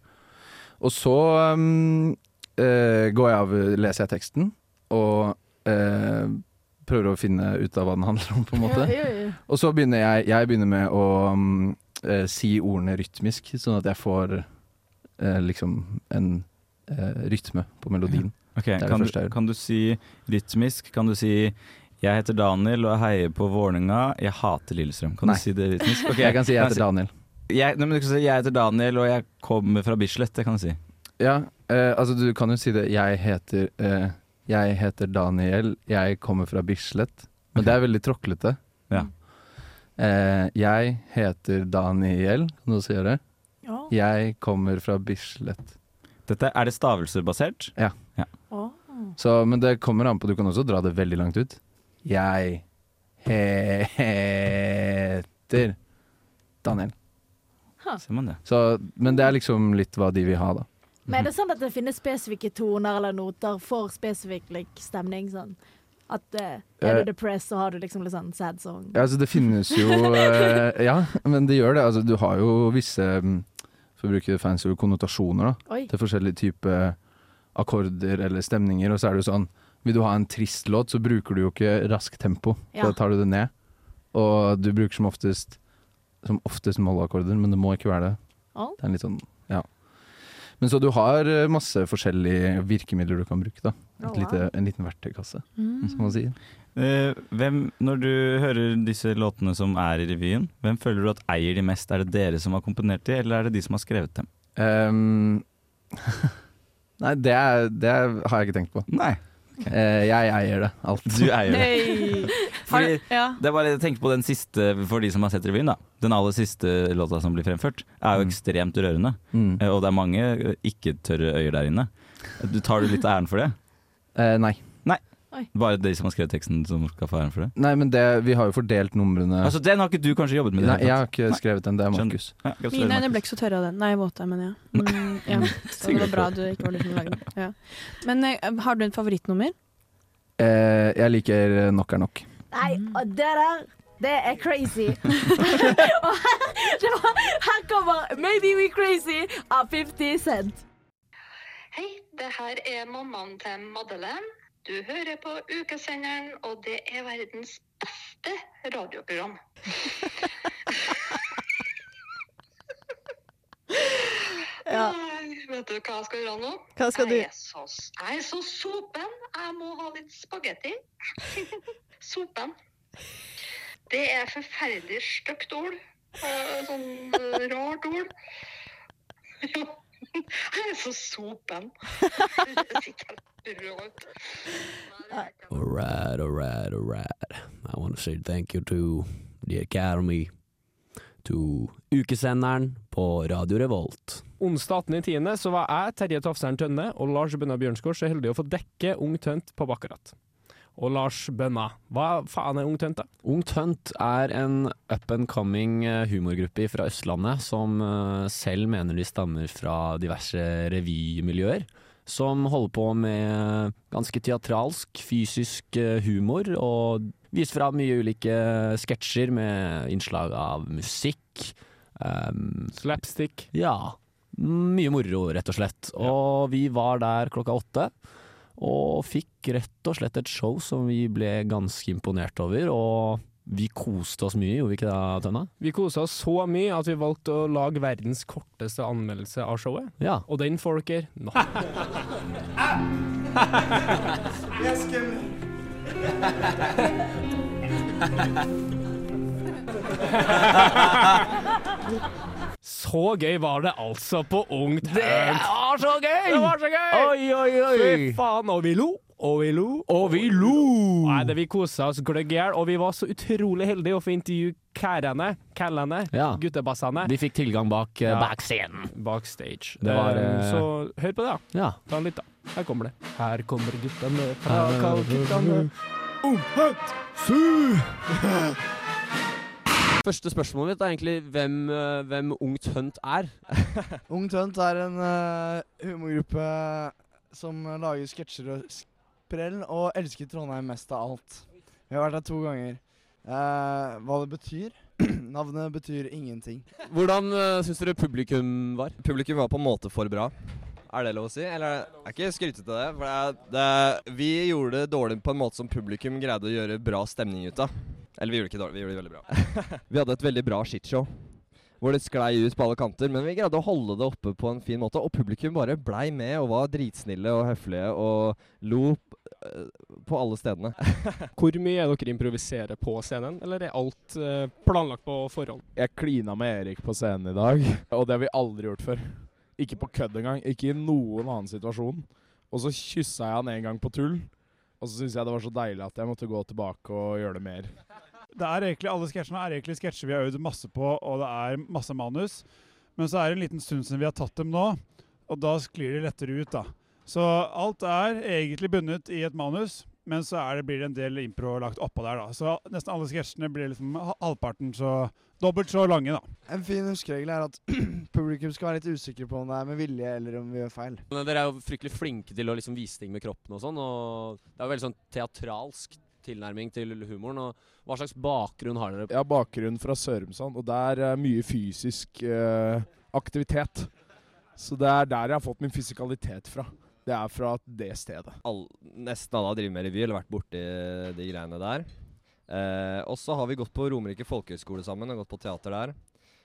Speaker 16: Og så ehm, eh, går jeg av, leser jeg teksten og eh, prøver å finne ut av hva den handler om, på en måte.
Speaker 4: Ja, ja, ja.
Speaker 16: Og så begynner jeg, jeg begynner med å mm, eh, si ordene rytmisk, sånn at jeg får eh, liksom en eh, rytme på melodien.
Speaker 7: Ok,
Speaker 16: Det er det
Speaker 7: kan,
Speaker 16: første jeg
Speaker 7: du, kan du si rytmisk? Kan du si 'Jeg heter Daniel og jeg heier på Vålerenga'. Jeg hater Lillestrøm. Kan
Speaker 16: Nei.
Speaker 7: du si det rytmisk? Ok,
Speaker 16: Jeg kan si jeg heter
Speaker 7: si-
Speaker 16: Daniel.
Speaker 7: Jeg, nei, men du kan si 'Jeg heter Daniel og jeg kommer fra Bislett'. Det kan du si.
Speaker 16: Ja, eh, altså du kan jo si det. Jeg heter, eh, jeg heter Daniel, jeg kommer fra Bislett. Men det er veldig tråklete.
Speaker 7: Ja.
Speaker 16: Eh, jeg heter Daniel, kan du også gjøre det?
Speaker 4: Ja.
Speaker 16: Jeg kommer fra Bislett.
Speaker 7: Dette, er det stavelsesbasert?
Speaker 16: Ja. Så, men det kommer an på, du kan også dra det veldig langt ut. Jeg he heter Daniel.
Speaker 4: Ha.
Speaker 7: Ser man det.
Speaker 16: Så, men det er liksom litt hva de vil ha, da.
Speaker 4: Men er det sånn at det finnes spesifikke toner eller noter for spesifikk like, stemning? Sånn? At eh, er
Speaker 16: Eh.
Speaker 4: du depressed, så har du liksom litt sånn sad song?
Speaker 16: Ja, altså det finnes jo eh, Ja, men det gjør det. Altså, du har jo visse mm, for å bruke det fancy ord, konnotasjoner da,
Speaker 4: Oi.
Speaker 16: til forskjellige typer akkorder eller stemninger. Og så er det jo sånn Vil du ha en trist låt, så bruker du jo ikke raskt tempo.
Speaker 4: Ja.
Speaker 16: Da tar du det ned. Og du bruker som oftest Som oftest mollakkorder, men det må ikke være det.
Speaker 4: Å.
Speaker 16: Det er en litt sånn, ja Men så du har eh, masse forskjellige virkemidler du kan bruke, da. Et
Speaker 4: Å, wow.
Speaker 16: lite, en liten verktøykasse,
Speaker 4: Mm.
Speaker 16: som man sier.
Speaker 7: Eh, hvem, når du hører disse låtene som er i revyen, hvem føler du at eier de mest? Er det dere som har komponert de, eller er det de som har skrevet dem?
Speaker 16: Ehm, nei, det, er, det er, har jeg ikke tenkt på.
Speaker 7: Nei.
Speaker 16: Eh, jeg eier det, alt.
Speaker 7: Du eier det.
Speaker 2: Nei.
Speaker 7: Fordi,
Speaker 2: Har- ja.
Speaker 7: det er bare Tenk på den siste for de som har sett revyen. da Den aller siste låta som blir fremført, er jo ekstremt rørende.
Speaker 16: Mm.
Speaker 7: Eh, Og det er mange eh, ikke-tørre øyer der inne. Du Tar du litt av æren for det?
Speaker 16: Eh, nei.
Speaker 7: nei. Bare de som har skrevet teksten, som skal få æren for det?
Speaker 16: Nei, men det, vi har jo fordelt numrene
Speaker 7: Altså Den har ikke du kanskje jobbet med? i det
Speaker 16: Nei,
Speaker 7: hele
Speaker 16: jeg har
Speaker 7: tatt.
Speaker 16: ikke skrevet den, det er Markus.
Speaker 7: Ja, gratulerer,
Speaker 2: Mine øyne
Speaker 7: Markus.
Speaker 2: ble ikke så tørre av den. Nei, våte, men ja. Mm, ja. Så det var bra du ikke var du som lagde den. Ja. Men eh, har du et favorittnummer?
Speaker 16: Eh, jeg liker eh, Nok er nok.
Speaker 4: Nei, og det der det er crazy. og her, det var, her kommer Maybe We Crazy av 50 Cent.
Speaker 14: Hei, det her er mammaen til Madeleine. Du hører på ukesenderen, og det er verdens beste radioprogram. Nei, Vet du hva jeg skal gjøre nå? Hva skal jeg du? Er så, jeg er så sopen. Jeg må ha litt spagetti. sopen. Det er forferdelig stygt ord. Eh, Sånn eh, rart ord. Ja. Jeg er så sopen. Det sitter helt rå ut.
Speaker 8: Oh,
Speaker 15: All right, all right, all right. I want to say thank you to the Academy, to ukesenderen på Radio Revolt.
Speaker 20: Onsdag 18.10. så var jeg, Terje Tafseren Tønne og Lars Bønna Bjørnskår så heldige å få dekke Ung Tønt på Bakkarat. Og Lars Bønna, hva faen er Ung Tønt, da?
Speaker 15: Ung Tønt er en up and coming eh, humorgruppe fra Østlandet som eh, selv mener de stammer fra diverse revymiljøer. Som holder på med ganske teatralsk, fysisk eh, humor og viser fra mye ulike sketsjer med innslag av musikk. ehm,
Speaker 20: Slapstick.
Speaker 15: Ja. Mye moro, rett og slett. Og vi var der klokka åtte. Og fikk rett og slett et show som vi ble ganske imponert over. Og vi koste oss mye, gjorde vi ikke det, Tønna?
Speaker 20: Vi kosa oss så mye at vi valgte å lage verdens korteste anmeldelse av showet.
Speaker 15: Ja.
Speaker 20: Og den får dere nå.
Speaker 12: Jeg er
Speaker 20: Så gøy var det altså på Ung Tønt.
Speaker 12: var så gøy!
Speaker 20: Det var så gøy!
Speaker 12: Oi, oi, oi!
Speaker 20: Fy faen, og vi lo. Og vi lo. Og vi lo! Nei, det Vi kosa oss gløgg i hjel, og vi var så utrolig heldige å få intervjue kærene, kallene,
Speaker 15: Ja.
Speaker 20: guttebassene.
Speaker 15: Vi fikk tilgang bak eh,
Speaker 20: Ja.
Speaker 15: backscenen.
Speaker 20: Backstage.
Speaker 15: Det var,
Speaker 20: Eh,
Speaker 15: eh,
Speaker 20: Så hør på det, da.
Speaker 15: Ja.
Speaker 20: Ta en litt, da. Her kommer det. Her kommer guttene fra Kalkuttane.
Speaker 12: Omhøyt!
Speaker 17: Første spørsmålet mitt er egentlig hvem, eh, hvem Ung Tønt er.
Speaker 12: Ung Tønt er en eh, humorgruppe som lager sketsjer og sprell, og elsker Trondheim mest av alt. Vi har vært her to ganger. Eh, hva det betyr? Navnet betyr ingenting.
Speaker 17: Hvordan uh, syns dere publikum var? Publikum var på en måte for bra. Er det lov å si? Eller er ikke skrytete det? For det er, det er, vi gjorde det dårlig på en måte som publikum greide å gjøre bra stemning ut av. Eller vi gjorde det ikke dårlig, vi gjorde det veldig bra. vi hadde et veldig bra shitshow. Hvor det sklei ut på alle kanter, men vi greide å holde det oppe på en fin måte. Og publikum bare blei med og var dritsnille og høflige og lo eh, på alle stedene.
Speaker 20: Hvor mye er dere improviserer på scenen, eller er alt eh, planlagt på forhånd?
Speaker 18: Jeg klina med Erik på scenen i dag, og det har vi aldri gjort før. Ikke på kødd engang. Ikke i noen annen situasjon. Og så kyssa jeg han en gang på tull, og så syntes jeg det var så deilig at jeg måtte gå tilbake og gjøre det mer.
Speaker 21: Det er egentlig, Alle sketsjene er egentlig sketsjer vi har øvd masse på, og det er masse manus. Men så er det en liten stund siden vi har tatt dem nå, og da sklir det lettere ut. da. Så alt er egentlig bundet i et manus, men så er det, blir det en del impro lagt oppå der. da. Så nesten alle sketsjene blir liksom ha- halvparten så Dobbelt så lange, da.
Speaker 12: En fin huskeregel er at publikum skal være litt usikre på om det er med vilje eller om vi gjør feil.
Speaker 17: Men dere er jo fryktelig flinke til å liksom vise ting med kroppen og sånn, og det er jo veldig sånn teatralsk tilnærming til humoren. Og hva slags bakgrunn har dere?
Speaker 18: Jeg har bakgrunn fra Sørumsand, og der er mye fysisk eh, aktivitet. Så det er der jeg har fått min fysikalitet fra.
Speaker 20: Det er fra det stedet.
Speaker 17: all, nesten alle har drevet med revy eller vært borti de greiene der. Eh, og så har vi gått på Romerike folkehøgskole sammen og gått på teater der.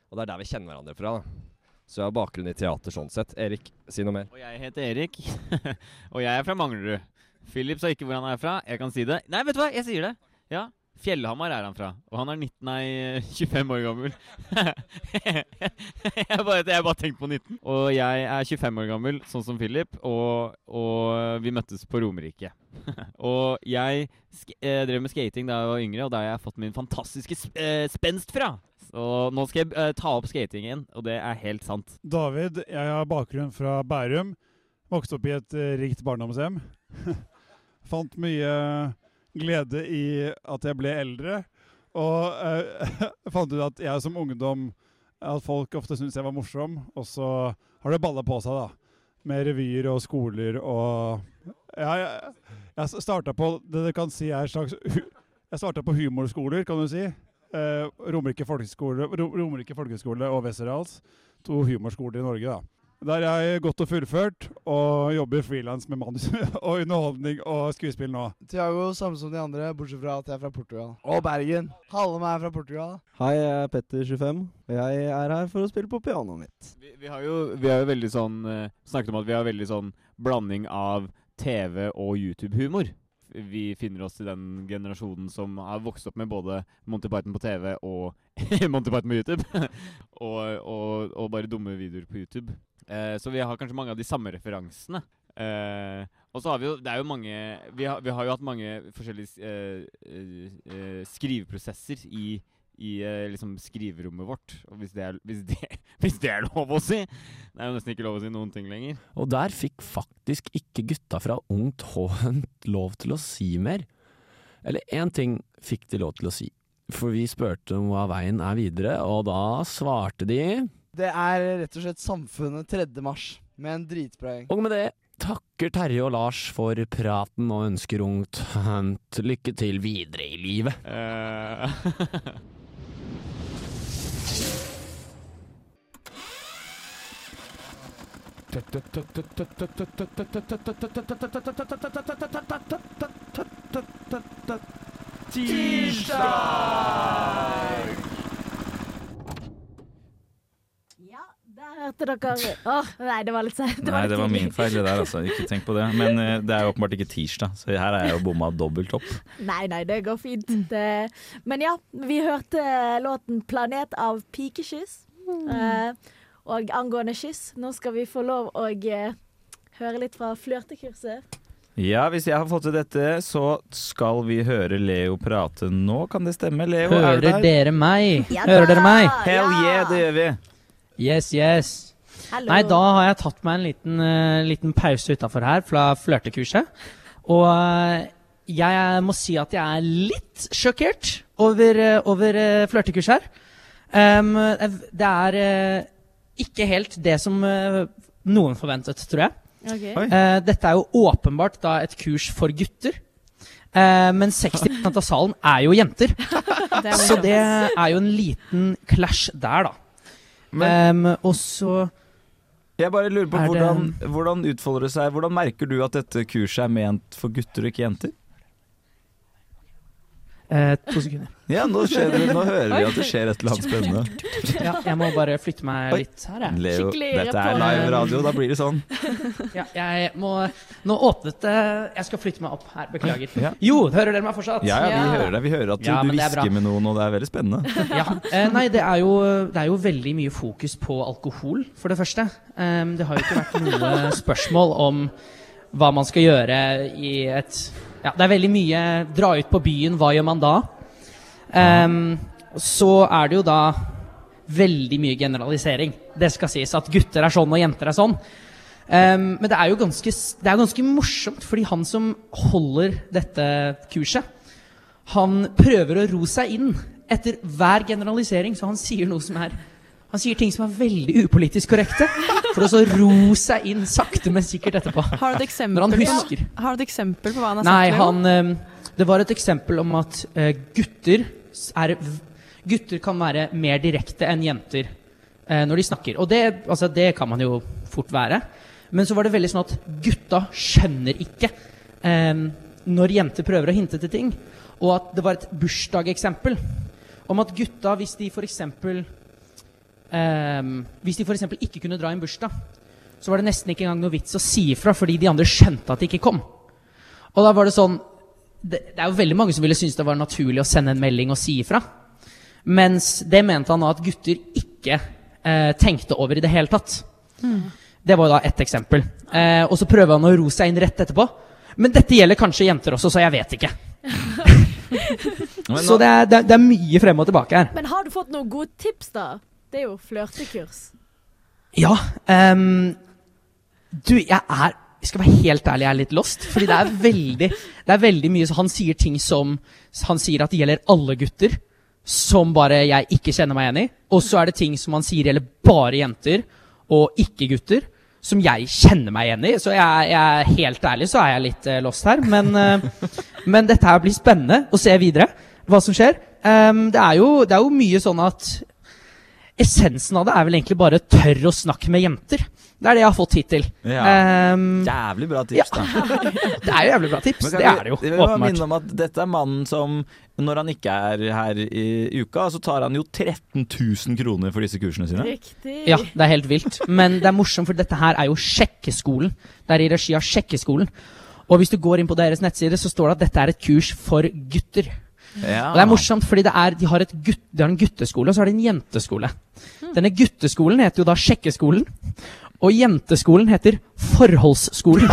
Speaker 17: Og det er der vi kjenner hverandre fra. da. Så jeg har bakgrunn i teater sånn sett. Erik, si noe mer.
Speaker 9: Og jeg heter Erik, og jeg er fra Manglerud. Philip sa ikke hvor han er fra. Jeg kan si det. Nei, vet du hva, jeg sier det. Ja, Fjellhamar er han fra, og han er 19, nei, 25 år gammel. jeg bare, jeg bare tenkte på 19. Og jeg er 25 år gammel, sånn som Philip, og, og vi møttes på Romerike. og jeg sk eh, drev med skating da jeg var yngre, og der har jeg fått min fantastiske sp eh, spenst fra. Så nå skal jeg eh, ta opp skatingen, og det er helt sant.
Speaker 21: David, jeg har bakgrunn fra Bærum. Vokste opp i et eh, rikt barndomshjem. Fant mye eh, glede i at jeg ble eldre. Og eh, fant ut at jeg som ungdom At folk ofte syntes jeg var morsom. Og så har det balla på seg, da. Med revyer og skoler og Ja, jeg, jeg starta på det du kan si er en slags hu- Jeg starta på humorskoler, kan du si. Eh, Romerike folkeskole, Ro- Romerike folkeskole og Westerdals. To humorskoler i Norge, da. Der har jeg gått og fullført, og jobber frilans med manus og underholdning og skuespill nå.
Speaker 10: Tiago, samme som de andre, bortsett fra at jeg er fra Portugal. Og Bergen. Halve meg er fra Portugal.
Speaker 34: Hei, jeg er Petter25, og jeg er her for å spille på pianoet mitt.
Speaker 9: Vi, vi har jo vi har jo veldig sånn eh, Snakket om at vi har veldig sånn blanding av TV og YouTube-humor. Vi finner oss i den generasjonen som har vokst opp med både Monty Python på TV og Monty Python på YouTube. og, og, og bare dumme videoer på YouTube. Eh, så vi har kanskje mange av de samme referansene. Eh, og så har vi jo Det er jo mange Vi har, vi har jo hatt mange forskjellige eh, eh, eh, skriveprosesser i i eh, liksom skriverommet vårt. Og hvis det, er, hvis, det, hvis det er lov å si! Det er jo nesten ikke lov å si noen ting lenger.
Speaker 15: Og der fikk faktisk ikke gutta fra Ungt Hån lov til å si mer. Eller én ting fikk de lov til å si. For vi spurte om hva veien er videre, og da svarte de
Speaker 10: Det er rett og slett Samfunnet 3. mars, med en dritbra gjeng.
Speaker 15: Og med det takker Terje og Lars for praten og ønsker Ungt Hunt lykke til videre i livet.
Speaker 1: Tirsdag!
Speaker 4: Der hørte dere Åh, nei, det var litt seint.
Speaker 7: Nei, det var min feil, det der, altså. Ikke tenk på det. Men eh, det er jo åpenbart ikke tirsdag, så her er jeg jo bomma dobbelt opp.
Speaker 4: Nei, nei, det går fint. Det, men ja, vi hørte låten 'Planet' av Pikekyss. Eh, og angående kyss, nå skal vi få lov å eh, høre litt fra flørtekurset.
Speaker 7: Ja, hvis jeg har fått til dette, så skal vi høre Leo prate nå. Kan det stemme, Leo? er du
Speaker 5: Hører
Speaker 7: der?
Speaker 5: dere meg?
Speaker 7: Ja
Speaker 5: Hører
Speaker 7: da,
Speaker 5: dere meg?
Speaker 7: Hell yeah, det gjør vi.
Speaker 5: Yes, yes.
Speaker 7: Hallo.
Speaker 5: Nei, da har jeg tatt meg en liten, eh, liten pause utafor her fra flørtekurset. Og eh, jeg må si at jeg er litt sjokkert over, eh, over eh, flørtekurset her. Em, det- det er eh, ikke helt det som eh, noen forventet, tror jeg.
Speaker 35: Ok. Oi.
Speaker 5: Eh, dette er jo åpenbart da et kurs for gutter. Eh, men 60 av salen er jo jenter.
Speaker 35: Det er
Speaker 5: så
Speaker 35: morsomt.
Speaker 5: det er jo en liten clash der, da. Em, og så
Speaker 7: Jeg bare lurer på
Speaker 5: Er det-
Speaker 7: hvordan, hvordan utfolder det seg? Hvordan merker du at dette kurset er ment for gutter og ikke jenter?
Speaker 5: eh, To sekunder.
Speaker 7: Ja, nå, skjer det, nå hører vi at det skjer et eller annet spennende.
Speaker 5: Ja, jeg må bare flytte meg litt her, jeg.
Speaker 7: Leo, dette er live radio, da blir det sånn.
Speaker 5: Ja, jeg må Nå åpnet det Jeg skal flytte meg opp her, beklager.
Speaker 7: Ja.
Speaker 5: Jo, hører dere meg fortsatt?
Speaker 7: Ja, ja, vi hører deg. Vi hører at du,
Speaker 5: Ja,
Speaker 7: du
Speaker 5: men det er bra.
Speaker 7: hvisker med noen, og det er veldig spennende.
Speaker 5: Ja. Eh, nei, det er, jo, det er jo veldig mye fokus på alkohol, for det første. Em, det har jo ikke vært noe spørsmål om hva man skal gjøre i et Ja, det er veldig mye dra ut på byen, hva gjør man da? Em, så er det jo da veldig mye generalisering. Det skal sies at gutter er sånn og jenter er sånn. Em, men det er jo ganske, s- det er ganske morsomt, fordi han som holder dette kurset, han prøver å ro seg inn etter hver generalisering, så han sier noe som er han sier ting som er veldig upolitisk korrekte, for å så ro seg inn sakte, men sikkert etterpå.
Speaker 6: Har du et eksempel,
Speaker 5: Når han
Speaker 6: på-
Speaker 5: husker.
Speaker 6: Har du et eksempel på hva han har
Speaker 5: Nei,
Speaker 6: sagt?
Speaker 5: han eh, Det var et eksempel om at eh, gutter s- er v- Gutter kan være mer direkte enn jenter eh, når de snakker. Og det, altså, det kan man jo fort være. Men så var det veldig sånn at gutta skjønner ikke em, når jenter prøver å hinte til ting. Og at det var et bursdageksempel om at gutta, hvis de f.eks. Um, hvis de for eksempel ikke kunne dra i en bursdag, så var det nesten ikke engang noe vits å si ifra fordi de andre skjønte at de ikke kom. Og da var det sånn Det, det er jo veldig mange som ville synes det var naturlig å sende en melding og si ifra. Mens det mente han da at gutter ikke eh, tenkte over i det hele tatt. Det var jo da ett eksempel. Eh, og så prøver han å ro seg inn rett etterpå. Men dette gjelder kanskje jenter også, så jeg vet ikke.
Speaker 7: Men
Speaker 5: så
Speaker 7: nå-
Speaker 5: det er, det, er, det er mye frem og tilbake her.
Speaker 4: Men har du fått noen gode tips, da? Det er jo flørtekurs.
Speaker 5: Ja. ehm, du, jeg er jeg skal være helt ærlig, jeg er litt lost. Fordi det er veldig, det er veldig mye så Han sier ting som Han sier at det gjelder alle gutter, som bare jeg ikke kjenner meg igjen i. Og så er det ting som han sier gjelder bare jenter og ikke gutter, som jeg kjenner meg igjen i. Så jeg, jeg er helt ærlig, så er jeg litt eh, lost her. Men, eh, men dette her blir spennende å se videre hva som skjer. Ehm, det, er jo, det er jo mye sånn at essensen av det er vel egentlig bare tør å snakke med jenter. Det er det jeg har fått hittil.
Speaker 7: Ja.
Speaker 5: Ehm,
Speaker 7: Jævlig bra tips, da.
Speaker 5: det er jo jævlig bra tips.
Speaker 7: Men
Speaker 5: Det
Speaker 7: kan
Speaker 5: er
Speaker 7: vi-
Speaker 5: det jo.
Speaker 7: Jeg vil bare minne
Speaker 5: Åpenbart.
Speaker 7: om at dette er mannen som, når han ikke er her i uka, så tar han jo 13 000 kroner for disse kursene sine.
Speaker 5: Ja, det er helt vilt. Men det er morsomt, for dette her er jo Sjekkeskolen. Det er i regi av Sjekkeskolen. Og hvis du går inn på deres nettside, så står det at dette er et kurs for gutter.
Speaker 7: Ja.
Speaker 5: Og det er morsomt, fordi det er, de, har et gutt, de har en gutteskole, og så har de en jenteskole. Denne gutteskolen heter jo da Sjekkeskolen, og jenteskolen heter Forholdsskolen.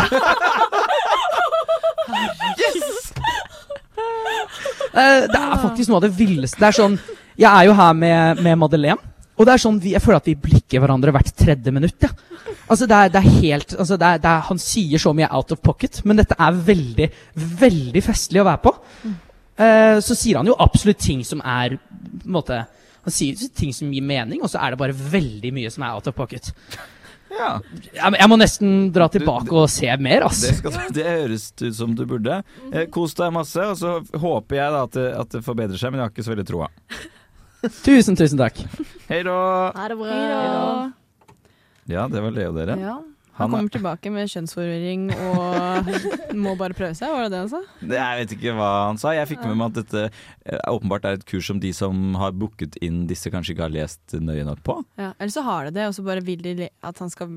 Speaker 1: Yes!
Speaker 5: Eh, det er faktisk noe av det villeste. Det er sånn, Jeg er jo her med, med Madeleine, og det er sånn, vi, jeg føler at vi blikker hverandre hvert tredje minutt. Ja. Altså, det er, det er helt, altså det er, det er, Han sier så mye out of pocket, men dette er veldig, veldig festlig å være på. Eh, så sier han jo absolutt ting som er på en måte, Han sier ting som gir mening, og så er det bare veldig mye som er out of pocket.
Speaker 7: Ja.
Speaker 5: Jeg, jeg må nesten dra tilbake og se mer, ass.
Speaker 7: Det, skal, det høres ut som du burde. Eh, Kos deg masse, og så håper jeg da at det, at det forbedrer seg, men jeg har ikke så veldig troa.
Speaker 5: Tusen, tusen takk.
Speaker 7: Hei da!
Speaker 4: Ha det bra.
Speaker 7: Ja, det var Leo, dere.
Speaker 6: Ja. Han
Speaker 7: Han er,
Speaker 6: kommer tilbake med kjønnsforvirring og må bare prøve seg, var det det han sa?
Speaker 7: det, jeg vet ikke hva han sa. Jeg fikk med meg at dette eh, åpenbart er et kurs som de som har booket inn disse, kanskje ikke har lest nøye nok på.
Speaker 6: Ja. Eller så har det det, og så bare vil de le- at han skal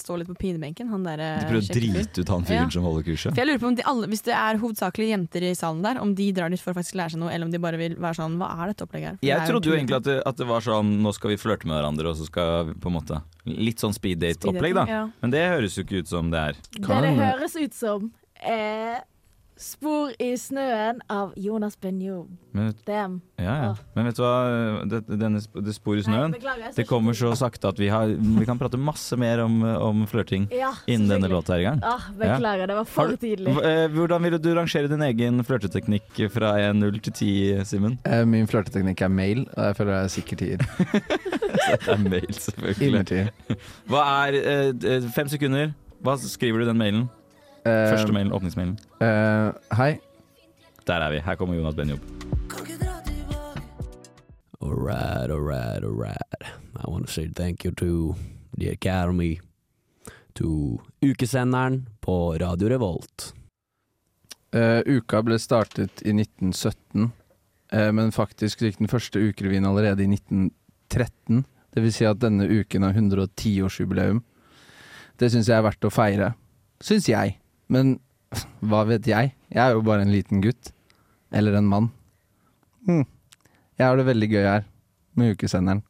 Speaker 6: stå litt på pinebenken. Han der,
Speaker 4: Eh,
Speaker 6: eh,
Speaker 7: De prøver å drite ut han fyren som holder kurset.
Speaker 6: For jeg lurer på om de alle, Hvis det er hovedsakelig jenter i salen der, om de drar dit for å faktisk lære seg noe, eller om de bare vil være sånn Hva er dette opplegget her? For det
Speaker 7: Jeg
Speaker 6: er
Speaker 7: trodde jo
Speaker 6: tull.
Speaker 7: egentlig at det, at det var sånn nå skal vi flørte med hverandre, og så skal vi på en måte Litt sånn speed date-opplegg, da.
Speaker 4: Speed dating, ja.
Speaker 7: Men det høres jo ikke ut som det er.
Speaker 4: Det det høres ut som, er Spor i snøen av Jonas Benjo.
Speaker 7: Men,
Speaker 4: Damn.
Speaker 7: ja, ja. Men vet du hva, det, denne, sp- det sporet i snøen
Speaker 4: beklager, jeg så
Speaker 7: Det kommer så sakte at vi, har, vi kan prate masse mer om, om flørting
Speaker 4: Ja,
Speaker 7: innen denne låta er i gang.
Speaker 4: Ah, beklager, det var for
Speaker 7: Har du-
Speaker 4: tidlig.
Speaker 7: hva- eh, Hvordan ville du rangere din egen flørteteknikk fra 0 til 10, Simen?
Speaker 16: Eh, Min flørteteknikk er mail, og jeg føler jeg er sikker tier.
Speaker 7: Det er mail, selvfølgelig.
Speaker 16: Innertier.
Speaker 7: Hva er eh, d- Fem sekunder. Hva skriver du i den mailen?
Speaker 16: Eh,
Speaker 7: Første mailen, åpningsmailen.
Speaker 16: Eh, hei.
Speaker 7: Der er vi. Her kommer Jonas Benjob.
Speaker 15: All right, all right, all right. I want to say thank you to the Academy, to ukesenderen på Radio Revolt.
Speaker 16: Eh, uka ble startet i 1917, eh, men faktisk gikk den første ukerevyen allerede i 1913. Det vil si at denne uken har 110-årsjubileum. Det syns jeg er verdt å feire. Syns jeg. Men hva vet jeg? Jeg er jo bare en liten gutt. Eller en mann. Hm. Jeg har det veldig gøy her, med ukesenderen.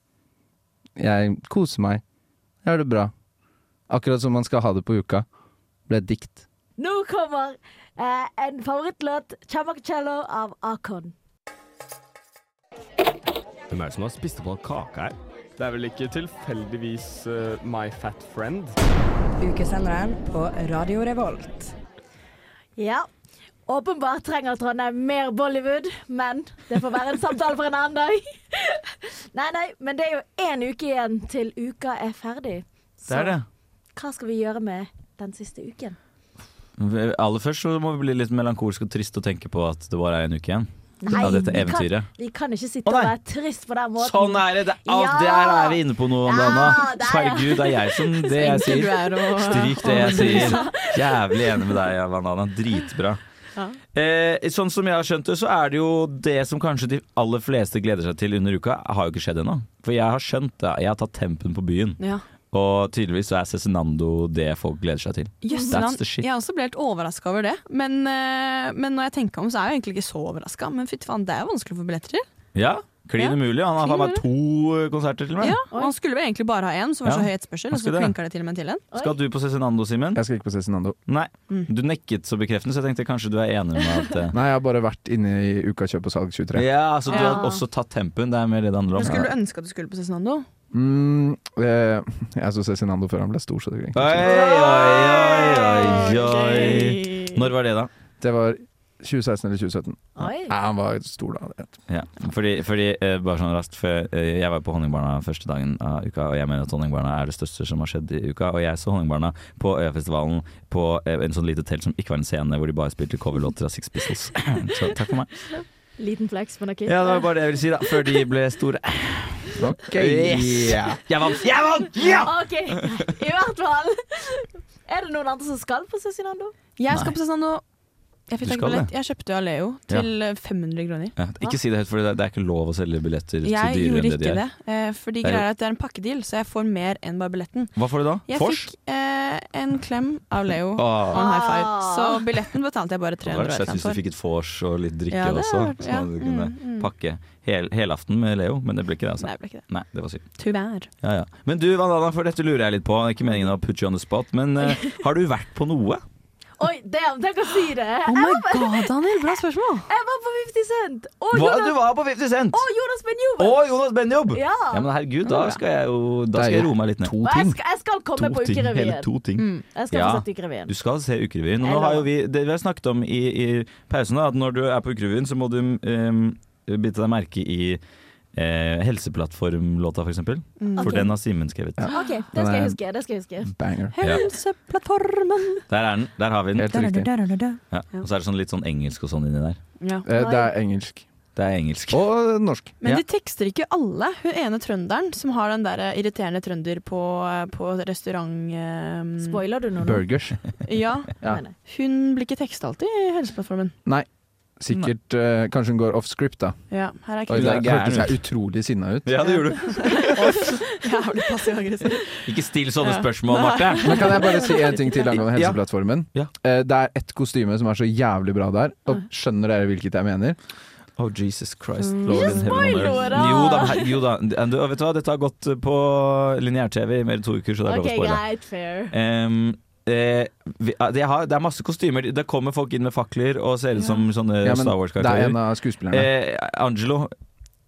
Speaker 16: Jeg koser meg. Jeg har det bra. Akkurat som man skal ha det på uka. Ble et dikt.
Speaker 4: Nå kommer eh, en favorittlåt, 'Chamakcello' av Akon.
Speaker 25: Hvem er det som har spist opp all kaka her? Det er vel ikke tilfeldigvis eh, My Fat Friend?
Speaker 2: Ukesenderen på Radio Revolt.
Speaker 4: Ja. Åpenbart trenger Trondheim mer Bollywood, men det får være en samtale for en annen dag. Nei, nei, men det er jo én uke igjen til uka er ferdig.
Speaker 7: Det er det.
Speaker 4: hva skal vi gjøre med den siste uken?
Speaker 7: Aller først så må vi bli litt melankolske og triste og tenke på at det bare er en uke igjen. av dette
Speaker 4: vi kan-
Speaker 7: eventyret.
Speaker 4: Vi kan ikke sitte og være trist på den måten.
Speaker 7: Sånn er det! det ah,
Speaker 4: Ja!
Speaker 7: Der er vi inne på noe, Anna.
Speaker 4: der, ja.
Speaker 7: Herregud, det er jeg som det jeg
Speaker 4: Flink
Speaker 7: sier.
Speaker 4: du er å-
Speaker 7: Stryk det jeg
Speaker 4: å-
Speaker 7: sier. Jævlig enig med deg, Banana. Dritbra.
Speaker 6: Ja.
Speaker 7: Eh, sånn som jeg har skjønt det, så er det jo det som kanskje de aller fleste gleder seg til under uka, har jo ikke skjedd ennå. For jeg har skjønt det. Jeg har tatt tempen på byen.
Speaker 6: Ja.
Speaker 7: Og tydeligvis så er Cezinando det folk gleder seg til.
Speaker 6: Jøsseland.
Speaker 7: That's the shit.
Speaker 6: Jeg er også ble helt overraska over det. Men, eh, men når jeg tenker om, så er jeg jo egentlig ikke så overraska. Men fytti faen, det er jo vanskelig å få billetter til.
Speaker 7: Ja, klin
Speaker 6: Ja.
Speaker 7: umulig. Han har faen meg
Speaker 6: Klin
Speaker 7: to eh, konserter til og med.
Speaker 6: Ja, og han skulle vel egentlig bare ha én, som var
Speaker 7: Ja.
Speaker 6: så høy etterspørsel,
Speaker 7: Han
Speaker 6: og så
Speaker 7: skulle det.
Speaker 6: klinka det til og med til en.
Speaker 7: Skal du på Cezinando, Simen? Jeg skal ikke på Cezinando. Nei.
Speaker 6: Mm.
Speaker 7: Du nekket så bekreftende, så jeg tenkte kanskje du er enig med at eh,
Speaker 16: Nei, jeg har bare vært inne i Uka kjøp og salg 23.
Speaker 7: Ja, altså du
Speaker 6: Ja.
Speaker 7: har også tatt tempen. Det er mer det det handler
Speaker 6: Men
Speaker 7: om.
Speaker 6: skulle du ønske at du skulle på Cezinando?
Speaker 16: Mm, eh, jeg så Cezinando før han ble stor, så det
Speaker 7: Oi, oi, oi, oi. Når var det, da?
Speaker 16: Det var 2016 eller 2017.
Speaker 4: Oi.
Speaker 16: Ja, han var stor da. det.
Speaker 7: Ja, fordi, fordi eh, bare sånn raskt for, eh, Jeg var på Honningbarna første dagen av uka, og jeg mener at Honningbarna er det største som har skjedd i uka. Og jeg så Honningbarna på Øyafestivalen på eh, en sånn lite telt som ikke var en scene, hvor de bare spilte coverlåter av Six Pistols. Så takk for meg.
Speaker 4: Liten flex, men OK.
Speaker 7: Ja, det var bare det jeg ville si, da. Før de ble store. Yes! Jeg vant! Jeg vant! Ja!
Speaker 4: OK, i hvert fall. Er det noen andre som skal på Cezinando?
Speaker 6: Jeg skal på Cezinando. Jeg fikk
Speaker 7: Du
Speaker 6: tak i
Speaker 7: skal
Speaker 6: billett.
Speaker 7: det.
Speaker 6: Jeg kjøpte jo Aleo til eh, 500 kroner.
Speaker 7: Ja, ikke si det høyt, for det er, det er ikke lov å selge billetter
Speaker 6: Jeg
Speaker 7: til dyrere
Speaker 6: gjorde
Speaker 7: enn det de
Speaker 6: ikke
Speaker 7: er.
Speaker 6: det, eh, fordi
Speaker 7: Det er jo-
Speaker 6: greia er at det er en pakkedeal, så jeg får mer enn bare billetten.
Speaker 7: Hva får du da?
Speaker 6: Jeg
Speaker 7: Fors?
Speaker 6: fikk eh, en klem av Leo
Speaker 7: Ah.
Speaker 6: og en high five, så billetten betalte jeg bare
Speaker 7: Det
Speaker 6: 300
Speaker 7: hadde vært
Speaker 6: og et
Speaker 7: søtt hvis
Speaker 6: eller
Speaker 7: du
Speaker 6: annet
Speaker 7: fikk et vors og litt drikke
Speaker 6: Ja, det
Speaker 7: også.
Speaker 6: hadde vært-
Speaker 7: Så
Speaker 6: ja,
Speaker 7: man kunne
Speaker 6: mm, mm.
Speaker 7: pakke hel, helaften med Leo, men det ble ikke det. Altså.
Speaker 6: Nei, det ble ikke det.
Speaker 7: Nei, det var synd.
Speaker 6: for. Tyvärr.
Speaker 7: Ja, ja. Men du, Vandana, for dette lurer jeg litt på. Ikke meningen å put you on the spot, men eh, har du vært på noe?
Speaker 4: Oi, damn, tenk å si det!
Speaker 6: Oh my
Speaker 4: Jeg var-
Speaker 6: god, Daniel, bra spørsmål!
Speaker 4: Jeg var på 50 Cent! Og
Speaker 7: Hva,
Speaker 4: Jonas-
Speaker 7: du var på 50 Cent?
Speaker 4: Og Jonas Benjoven!
Speaker 7: Å, Jonas Benjob!
Speaker 4: Ja.
Speaker 7: ja, men herregud, da skal jeg jo Da skal jeg roe meg litt ned.
Speaker 4: Og Jeg skal, jeg skal komme
Speaker 7: To
Speaker 4: på
Speaker 7: ting,
Speaker 4: Ukerevyen.
Speaker 7: hele to ting.
Speaker 4: Mm, jeg skal
Speaker 7: Ja.
Speaker 4: få sett Ukerevyen.
Speaker 7: Du skal se Ukerevyen. Og
Speaker 4: Jeg
Speaker 7: nå
Speaker 4: lover.
Speaker 7: har jo vi, det vi har snakket om i, i pausen, da, at når du er på Ukerevyen, så må du um, bite deg merke i eh, Helseplattform-låta, for eksempel.
Speaker 4: Mm.
Speaker 7: For
Speaker 4: Ok.
Speaker 7: den har Simen skrevet.
Speaker 4: OK, det skal jeg huske. Det skal jeg huske.
Speaker 7: Banger. Ja.
Speaker 6: Helseplattformen
Speaker 7: Der er den. Der har vi den.
Speaker 6: Helt riktig. Da, da, da, da.
Speaker 7: Ja. Og så er det sånn litt sånn engelsk og sånn inni der.
Speaker 6: Ja.
Speaker 7: engelsk. Det er engelsk. Og norsk.
Speaker 6: Men de tekster ikke alle. Hun ene trønderen som har den der irriterende trønder på, på restaurant... eh,
Speaker 4: Spoiler du nå?
Speaker 16: Burgers.
Speaker 6: Ja.
Speaker 16: Ja.
Speaker 6: Hun blir ikke teksta alltid i Helseplattformen.
Speaker 16: Nei, sikkert eh, Kanskje hun går off script, da.
Speaker 6: Ja, her
Speaker 16: Oi,
Speaker 6: er Kristin.
Speaker 16: der hørtes jeg utrolig sinna ut.
Speaker 7: Ja, det gjorde du.
Speaker 6: Jævlig passiv aggressiv.
Speaker 7: Ikke still sånne
Speaker 6: Ja.
Speaker 7: spørsmål, Marte!
Speaker 16: Men kan jeg bare si en ting til angående
Speaker 7: Ja.
Speaker 16: Helseplattformen? Eh, Det er ett kostyme som er så jævlig bra der, og skjønner dere hvilket jeg mener?
Speaker 7: Oh, Jesus Christ,
Speaker 16: Mm.
Speaker 7: Lord in
Speaker 16: Ikke
Speaker 7: heaven and
Speaker 16: spoil
Speaker 7: earth.
Speaker 16: noe, da!
Speaker 7: Jo da, her- jo da. Du, vet du hva, dette har gått på lineær-TV i mer enn to uker, så det er lov
Speaker 4: OK,
Speaker 7: å spoile.
Speaker 4: greit, fair.
Speaker 7: Ehm, eh, vi, eh, det, har, det er masse kostymer. Det kommer folk inn med fakler og ser ut som sånne
Speaker 16: Ja, men
Speaker 7: Star Wars-karakterer.
Speaker 16: det er en av skuespillerne.
Speaker 7: Eh, Angelo.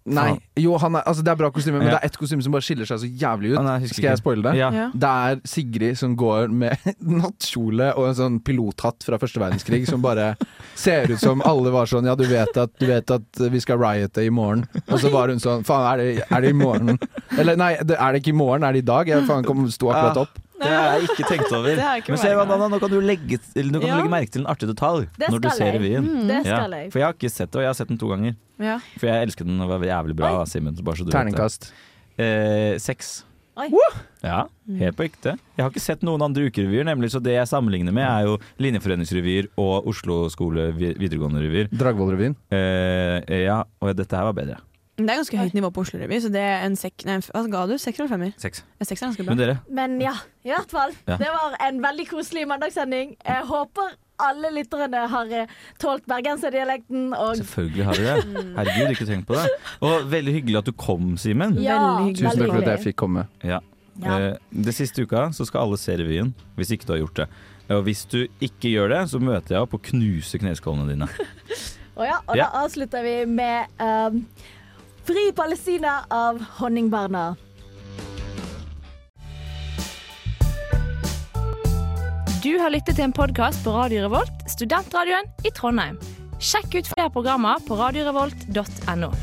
Speaker 16: Nei,
Speaker 7: Faen.
Speaker 16: jo, han er, altså det er bra kostyme, men
Speaker 7: Ja.
Speaker 16: det er ett kostyme som bare skiller seg så jævlig ut.
Speaker 7: Ah, nei, jeg husker
Speaker 16: Skal
Speaker 7: ikke.
Speaker 16: jeg spoile det?
Speaker 7: Ja. Ja.
Speaker 16: Det er Sigrid som går med nattkjole og en sånn pilothatt fra første verdenskrig, som bare ser ut som alle var sånn Ja, du vet at, du vet at vi skal riote i morgen. Og så var hun sånn Faen, er det, er det i morgen? Eller nei, det, er det ikke i morgen, er det i dag? Jeg faen kom, sto akkurat opp.
Speaker 7: Det har jeg ikke tenkt over.
Speaker 16: Det har jeg ikke
Speaker 7: Ah. Men se,
Speaker 16: merket.
Speaker 7: Vandana, nå kan du legge, eller, nå kan
Speaker 6: Ja.
Speaker 7: du legge merke til en artig detalj
Speaker 6: Det
Speaker 7: når du
Speaker 6: skal
Speaker 7: ser
Speaker 6: jeg.
Speaker 7: revyen.
Speaker 6: Mm, det
Speaker 7: Ja,
Speaker 6: skal jeg.
Speaker 7: For jeg har ikke sett det, og jeg har sett den to ganger.
Speaker 6: Ja.
Speaker 7: For jeg elsker den, og det var jævlig bra. da, Simen, bare så du vet det.
Speaker 16: Terningkast.
Speaker 7: Eh, seks.
Speaker 4: Oi.
Speaker 7: Ja,
Speaker 4: Mm.
Speaker 7: helt på ekte. Jeg har ikke sett noen andre ukerevyer, nemlig, så det jeg sammenligner med, er jo Linjeforeningsrevyer og Oslo skole vi- videregående revyer.
Speaker 16: Dragvoll-revyen.
Speaker 7: Eh, ja, og dette her var bedre.
Speaker 6: Men Det er ganske høyt nivå på Oslo Revy, så det er en sekk... Nei, hva ga du? Seks eller femmer?
Speaker 7: Seks.
Speaker 6: Ja, seks er ganske bra.
Speaker 7: Men dere?
Speaker 4: Men ja, i hvert fall.
Speaker 7: Ja.
Speaker 4: Det var en veldig koselig mandagssending. Jeg håper alle lytterne har eh, tålt bergenserdialekten og
Speaker 7: Selvfølgelig har vi det.
Speaker 4: Mm.
Speaker 7: Herregud, ikke tenk på det. Og veldig hyggelig at du kom, Simen.
Speaker 4: Ja, Veldig hyggelig.
Speaker 16: Tusen takk for at jeg fikk komme.
Speaker 7: Ja.
Speaker 4: Ja.
Speaker 7: Eh, det siste uka så skal alle se revyen, hvis ikke du har gjort det. Og hvis du ikke gjør det, så møter jeg opp og knuser kneskålene dine.
Speaker 4: Og ja, og
Speaker 7: Ja.
Speaker 4: da avslutter vi med ehm, Fri Palestina av Honningbarna.
Speaker 3: Du har lyttet til en podkast på Radio Revolt, studentradioen i Trondheim. Sjekk ut flere programmer på radiorevolt.no.